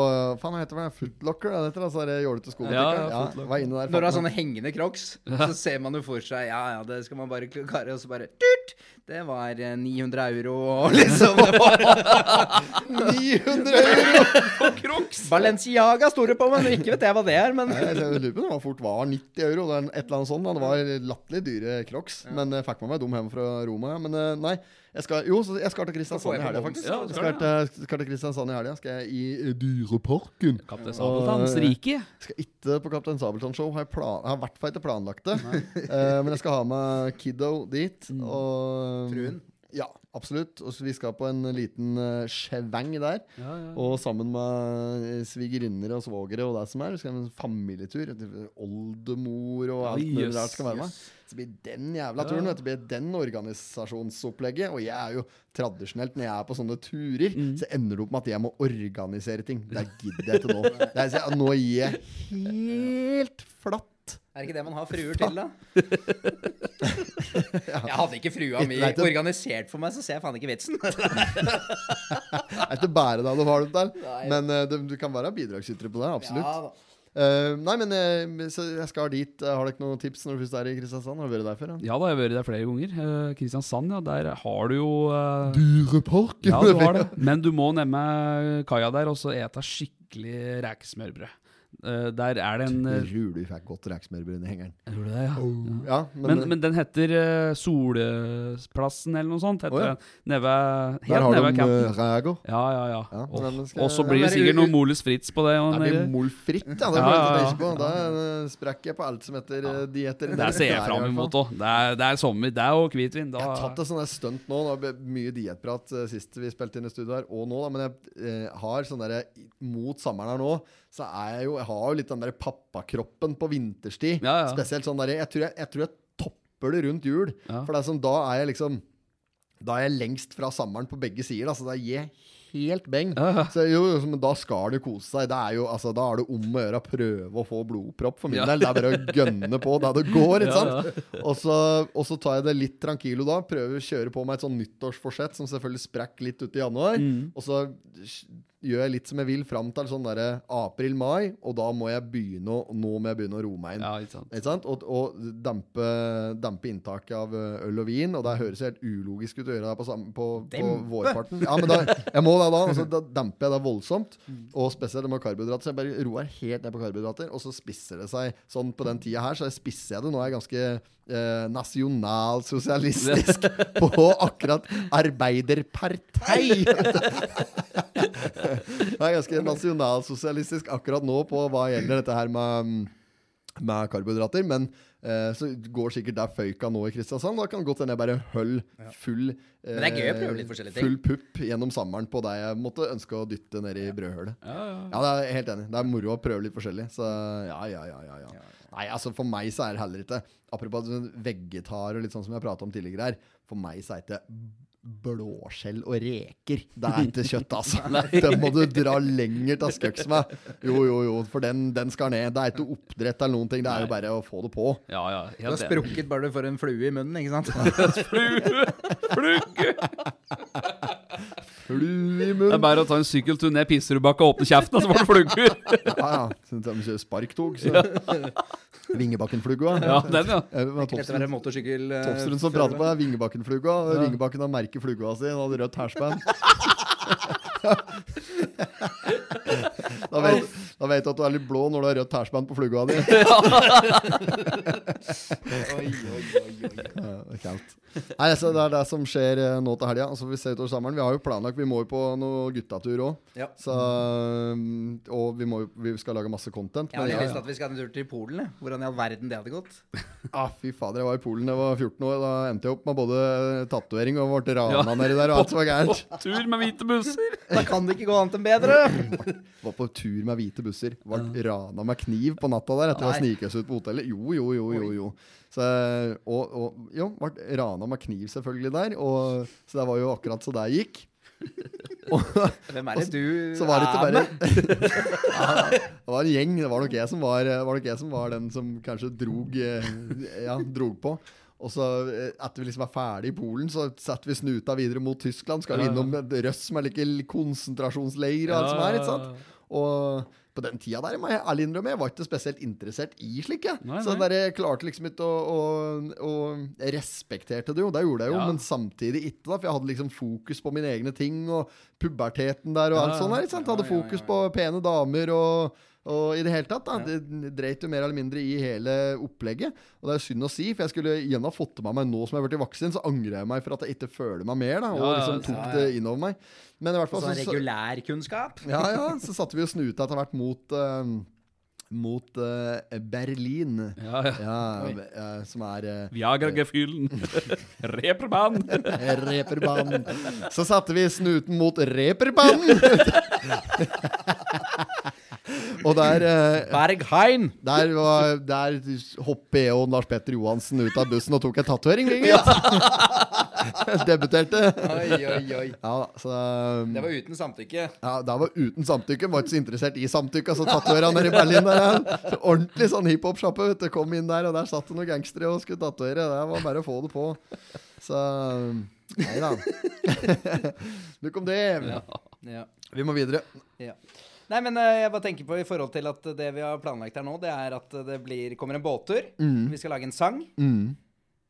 A: Faen, hva heter det? Footlocker? Det heter altså det jålete skobutikker.
C: Ja, ja,
A: Ja,
C: Footlocker.
A: var inne der.
G: Når du har
A: fant
G: sånne
A: meg-
G: hengende crocs, så ser man jo for seg Ja, ja, det skal man bare klare, og så bare tut, Det var eh, 900 euro, og liksom det var
A: 900 euro!
G: Balenciaga store på, men ikke vet jeg hva det er, men
A: Nei, Jeg lurer på om det var fort var 90 euro. Det er et eller annet sånt. da. Det var latterlig dyre crocs. Men jeg fikk med meg dem hjem fra Roma. ja. Men eh, nei, jeg skal, jo, så jeg skal til
G: får
A: Kristiansand
G: jeg
A: i
G: på
A: helga,
G: Mons.
A: faktisk.
C: Ja, du
A: Jeg
C: skal
A: skal til, skal til Kristiansand i helga. Skal jeg i Dyreparken.
C: Kaptein Sabeltanns
A: Og-
C: rike.
A: Skal ikke på Kaptein Sabeltann-show. Har jeg, plan, har i hvert fall ikke planlagt det. Eh, men jeg skal ha med Kiddo dit. Og
G: Fruen?
A: Ja, absolutt. Og så vi skal på en liten eh, skjeveng der. Og sammen med eh, svigerinner og svogere og det som er. Vi skal ha en familietur. et Oldemor og alt
C: Oi,
A: mulig
C: jøss,
A: rart skal være med. Så blir den jævla turen, vet du, blir den organisasjonsopplegget. Og jeg er jo tradisjonelt, når jeg er på sånne turer,
C: Mm.
A: så ender det opp med at jeg må organisere ting. Det gidder jeg ikke nå. Det er, så- nå gir jeg helt flatt.
G: Er det ikke det man har fruer til, da? Jeg hadde ikke frua mi
A: Nei, det-
G: organisert for meg, så ser jeg faen ikke vitsen.
A: Det er ikke bare deg du har det der, men eh, du, du kan være bidragsytere på det, absolutt.
G: Ja, da.
A: Eh, nei, men eh, så jeg skal dit. Eh, Har dere noen tips når du først er i Kristiansand? Har du vært der før? da?
C: Ja, da har jeg vært der flere ganger. Eh, Kristiansand, ja. Der har du jo eh,
A: Dyreparken!
C: Ja, du har det. Men du må nemme kaia der og så ete skikkelig rekesmørbrød. Eh, Der er det en eh,
A: Tror du fikk godt reksmørbrød i hengeren?
C: Gjorde du det, ja?
A: Ja, men,
C: Men, men den heter eh, Solplassen eller noe sånt. Heter
A: Å, ja.
C: den. Neve,
A: der
C: helt
A: har
C: nede
A: de
C: ved
A: uh,
C: campen.
A: Rægo.
C: Ja, ja, ja.
A: Ja,
C: Åh,
A: men den skal-
C: og så blir det
G: Den er
C: sikkert
G: u-
C: noe Molus Fritz på det. Og
A: Det blir
C: nede.
A: molfritt, ja. Det
C: Sånn Ja,
A: får jeg
C: ja,
A: til å
C: ja.
A: tenke på. Da eh, sprekker jeg på alt som heter eh, dietter.
C: det ser jeg
A: Der, i
C: fram
A: hvert fall.
C: imot òg. Det, er- det er sommer. Det er jo hvitvin. Da
A: Jeg har tatt et sånt der stunt nå. Det var mye dietprat eh, sist vi spilte inn i studio her, og nå, da. Men jeg eh, har sånn derre Mot sommeren her nå, så er jeg jo Jeg har jo litt den derre pappakroppen på vinterstid.
C: Ja, ja.
A: Spesielt sånn derre jeg, tror jeg, jeg tror jeg topper det rundt jul.
C: Ja.
A: For det er sånn, da er jeg liksom Da er jeg lengst fra sommeren på begge sider. da, Så det er jeg helt beng. Så jo, jo, men da skal du kose seg. Det er jo, altså, da er det om å gjøre å prøve å få blodpropp for min
C: Ja.
A: del. Det er bare å gønne på der det går. ikke sant? Og så, og så tar jeg det litt tranquilo da. Prøver å kjøre på meg et sånn nyttårsforsett som selvfølgelig sprakk litt ute i januar. Og så gjør jeg litt som jeg vil fram til sånn derre april-mai, og da må jeg begynne å, nå må jeg begynne å roe meg inn.
C: ja, ikke sant.
A: Ikke sant? Og, og dempe, dempe inntaket av ø, øl og vin. Og det høres helt ulogisk ut å gjøre det på, samme- på, på vårparten. Ja, men da, jeg må det da, og så da demper jeg det voldsomt.
C: Mm.
A: Og spesielt med karbohydrater. Så jeg bare roer helt ned på karbohydrater, og så spisser det seg sånn på den tida her. Så spisser jeg det. Nå er jeg ganske eh, nasjonalsosialistisk på akkurat arbeiderpartei. Jeg er ganske nasjonalsosialistisk akkurat nå på hva gjelder dette her med mm, med karbohydrater, men eh, så går sikkert der føyka nå i Kristiansand. Da kan det godt hende jeg bare høll full eh,
G: Men det er gøy å prøve litt forskjellige ting.
A: Full pupp gjennom sommeren på det jeg måtte ønske å dytte ned i brødhølet. Ja, det er jeg helt enig. Det er moro å prøve litt forskjellig. Så ja, ja, ja, ja, ja. Nei, altså for meg så er det heller ikke Apropos sånn vegetar og litt sånn som jeg prata om tidligere her. For meg så er det ikke blåskjell og reker. Det er ikke kjøtt, altså. Det må du dra lenger til skøks med. Jo, jo, jo, for den, den skal ned. Det er ikke oppdrett eller noen ting. Det er jo bare å få det på.
C: Ja, ja.
G: Du har
C: Helt enig.
G: sprukket bare du får en flue i munnen, ikke sant?
C: Flue! Flugge!
A: Flue i
C: Det er
A: munnen.
C: bare å ta en sykkeltur ned Pisserudbakka og åpne kjeften, og så var det flugger!
A: Ja, ja. Synes jeg vi kjører sparktog, så. Vingebakkenflugga.
C: Ja, den, ja.
A: Eh, det var
G: Dette var
A: Topstrøm
G: en motorsykkel... eh,
A: Topstrøm som prater på det, er Vingebakkenflugga. Vingebakken har merket flugga si. Han hadde rødt hersband. da, vet, da vet du at du er litt blå når du har rødt hersband på flugga di. Ja, det er kaldt. Nei, altså, det er det som skjer eh, nå til helga. Altså, vi ser utover sommeren. Vi har jo planlagt Vi må jo på noe guttatur òg.
G: Ja.
A: mm, Og vi, må, jo- vi skal lage masse content.
G: Jeg har
A: men-
G: litt lyst til at vi skal en tur til Polen. jeg. Hvordan i all verden det hadde gått?
A: Ah, fy fader, jeg var i Polen da jeg var 14 år. Da endte jeg opp med både tatovering og ble rana nedi der, og alt som var gærent.
C: På tur med hvite busser!
G: Da kan det ikke gå annet enn bedre!
A: Var på tur med hvite busser. Ble rana med kniv på natta der etter å ha sniket oss ut på hotellet. Jo, jo, jo, jo. jo. Så, og, og jo, ble rana med kniv selvfølgelig der. Og, så det var jo akkurat så det gikk.
G: Hvem er det du
A: Så var det ikke
G: er
A: bare
G: med?
A: Det var en gjeng. Det var nok jeg som var, var, nok jeg som var den som kanskje drog, eh, ja, drog på. Og så eh, etter vi liksom er ferdig i Polen, så setter vi snuta videre mot Tyskland. Skal vi
B: Ja, ja.
A: innom Røst, som er like l- konsentrasjonsleir og alt som
B: Ja,
A: er.
B: ja,
A: ikke sant? Og på den tida der må jeg ærlig innrømme, jeg var ikke spesielt interessert i slike.
B: Nei,
A: Så
B: nei.
A: der jeg klarte liksom ikke å, å, å Jeg respekterte det jo, det gjorde jeg jo,
B: Ja.
A: men samtidig ikke, da. For jeg hadde liksom fokus på mine egne ting, og puberteten der og
B: Ja,
A: alt sånt der. ikke sant? Hadde fokus på pene damer og og i det hele tatt, da. Det dreit jo mer eller mindre i hele opplegget. Og det er jo synd å si, for jeg skulle gjerne ha fått det med meg nå som jeg har blitt voksen, så angrer jeg meg for at jeg ikke føler meg mer, da. Og
B: Ja, ja,
A: liksom tok
G: ja, ja.
A: det innover meg. Men i hvert fall
G: Sånn
A: så- så-
G: regulærkunnskap?
A: ja, ja, så satte vi og snuta etter hvert mot, eh, mot eh, Berlin.
B: Ja, ja.
A: Ja, eh, som er eh,
C: Viagra-gefühlen. Repermann.
A: Reperbanen. Så satte vi snuten mot Reperbanen! og der, eh,
B: Berghain!
A: der, var, der hoppet jeg og Lars Petter Johansen ut av bussen og tok en tatovering. Debuterte.
G: Oi, oi, oi.
A: Ja, så eh,
G: Det var uten samtykke.
A: Ja, da var uten samtykke. Var ikke så interessert i samtykke. Så tatovera nede i Berlin der. ja. Så ordentlig sånn hiphop-sjappe. vet du. Kom inn der, og der satt det noen gangstere og skulle tatovere. Det var bare å få det på. Så Nei da. Nok om det.
G: Ja.
A: Vi må videre.
G: Ja. Nei, men eh, jeg bare tenker på i forhold til at det vi har planlagt her nå, det er at det blir, kommer en båttur.
B: Mm.
G: Vi skal lage en sang,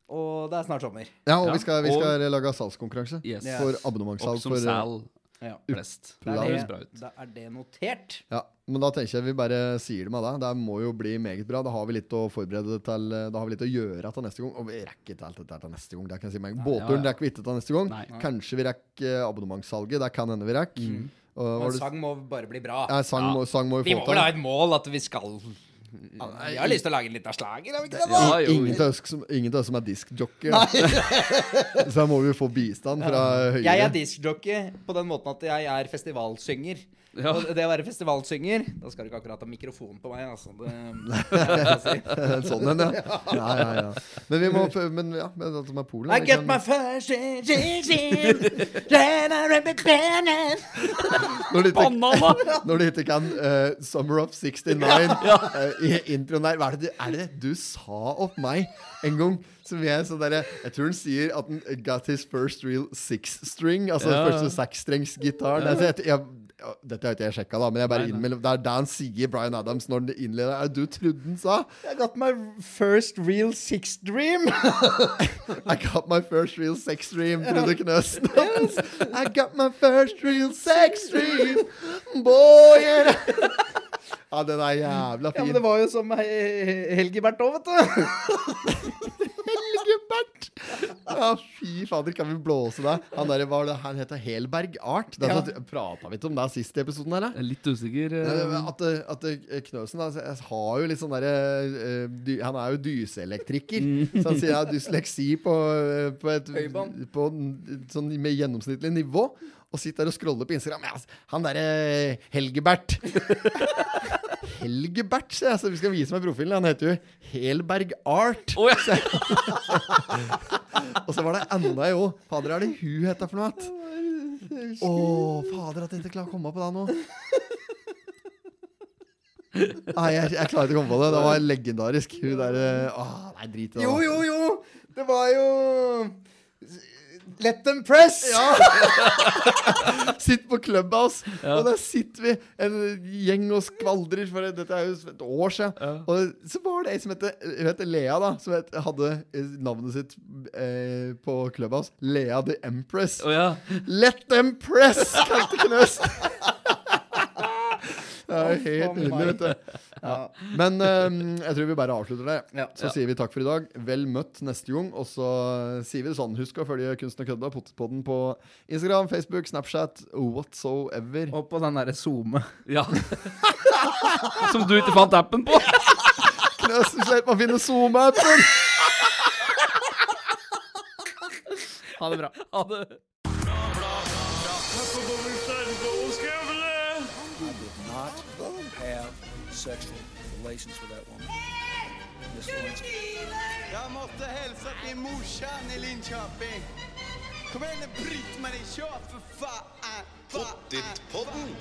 G: og det er snart sommer.
A: Ja, og
B: Ja,
A: vi skal, vi
B: og-
A: skal lage salgskonkurranse
C: Yes.
A: for
B: Opp
A: abonnementsalg.
B: som
A: For, eh,
B: sal
G: Ja.
B: flest.
G: Da er
A: Programmet
B: høres bra
G: det,
B: ut.
G: da er det notert.
A: ja, men da tenker jeg vi bare sier det med deg. Det må jo bli meget bra. Da har vi litt å forberede til eh, Da har vi litt å gjøre til neste gang. Og vi rekker ikke alt dette her til neste gang. Det kan jeg si meg. Båtturen rekker vi ikke til neste gang.
C: Nei.
A: Kanskje vi rekker eh, abonnementsalget. Det kan hende vi rekker. Og
G: Mm. Og
A: var
G: en
A: det-
G: sang må bare bli bra.
A: Ja, sang, må, sang må vi
G: Vi
A: få
G: må vel ha
A: til.
G: et mål at vi skal Vi har lyst til å lage en liten slager, har vi ikke det? da?
B: Ja, jo.
A: Ingen til oss som, ingen til oss som er diskjockey. så da må vi få bistand fra høyre.
G: Jeg er diskjockey på den måten at jeg er festivalsynger.
B: Ja.
G: Og det å være festivalsynger Da skal du ikke akkurat ha mikrofon på meg, altså. Det, det er det jeg sier.
A: sånn en, ja. Ja, ja, ja. Men vi må prøve- Men ja, men at de er Polen
G: I
A: vi
G: get
A: kan-
G: my first injection Then I rip it down
A: Når du ikke-
C: Banana!
A: Når du ikke kan eh, Summer of 69 eh, i introen der Hva er det, du- er det det du sa opp meg en gang? Som jeg, så der, jeg tror han sier at han got his first real six string. Altså
B: Ja.
A: første seksstrengsgitar. Det er så- jeg- jeg- ja, Dette har ikke jeg sjekka, da, men jeg bare innmelder, det er det han sier, Bryan Adams, når han innleder. Er det du trodde han sa?
G: I got my first real six dream
A: I got my first real sex dream, Trude Knøsen. I got my first real sex dream, boy! and I- Ja, den er jævla
G: Ja,
A: fin.
G: men det var jo som eh, Helgebert òg, vet du.
A: Helgebert! Ja, fy fader, kan vi blåse deg? Han der var det, han heter Helberg Art. Det ja. prata vi ikke om det sist i episoden her, da?
C: Jeg er Litt usikker. eh,
A: At, eh, at eh, Knøsen da, jeg har jo litt sånn derre Han er jo dyseelektriker. Så han sier jeg har dysleksi på, eh, på et
G: Høybånd.
A: på, en- sånn med gjennomsnittlig nivå. Og sitter der og scroller på Instagram. Ja, altså, han derre eh, Helgebert Helgebert, sier jeg. Så vi skal vise meg profilen. Han heter jo Helberg Art.
C: Å, ja.
A: Og så var det enda ei òg. Fader, er det hun heter for noe? at? Å, fader, at jeg ikke klarer å komme på det nå. Nei, jeg, jeg klarer ikke å komme på det. Det var legendarisk. Hun der eh, Åh, nei, drit i det.
G: Jo, jo, jo. Det var jo Let them press!
A: Sitt på Clubhouse, og der sitter vi en gjeng og skvaldrer, for dette er jo et år siden. Og så var det ei som het hun heter Lea, da, som het, hadde eh, navnet sitt eh, på Clubhouse. Lea the Empress.
C: Å ja.
A: Let them press, kalte Knøs. Det er jo helt
G: faen
A: nydelig,
G: meg.
A: vet du. Ja. Men eh, jeg tror vi bare avslutter det.
G: Ja.
A: Så sier vi takk for i dag. Vel møtt neste gang. Og så sier vi det sånn. Husk å følge Kunsten og kødda, Pottetpodden, på Instagram, Facebook, Snapchat, whatsoever.
B: Og på den derre zoome.
C: ja. Som du ikke fant appen på?
A: Knøsen slipper å finne Zoom-appen!
B: Ha det bra.
C: Ha det.
D: Not have sexual relations with that woman. Miss Lewinsky.
E: Jag måste hälsa till morsan i Linköping. Kom igen nu Britt-Marie, kör för fan! Pottit-podden.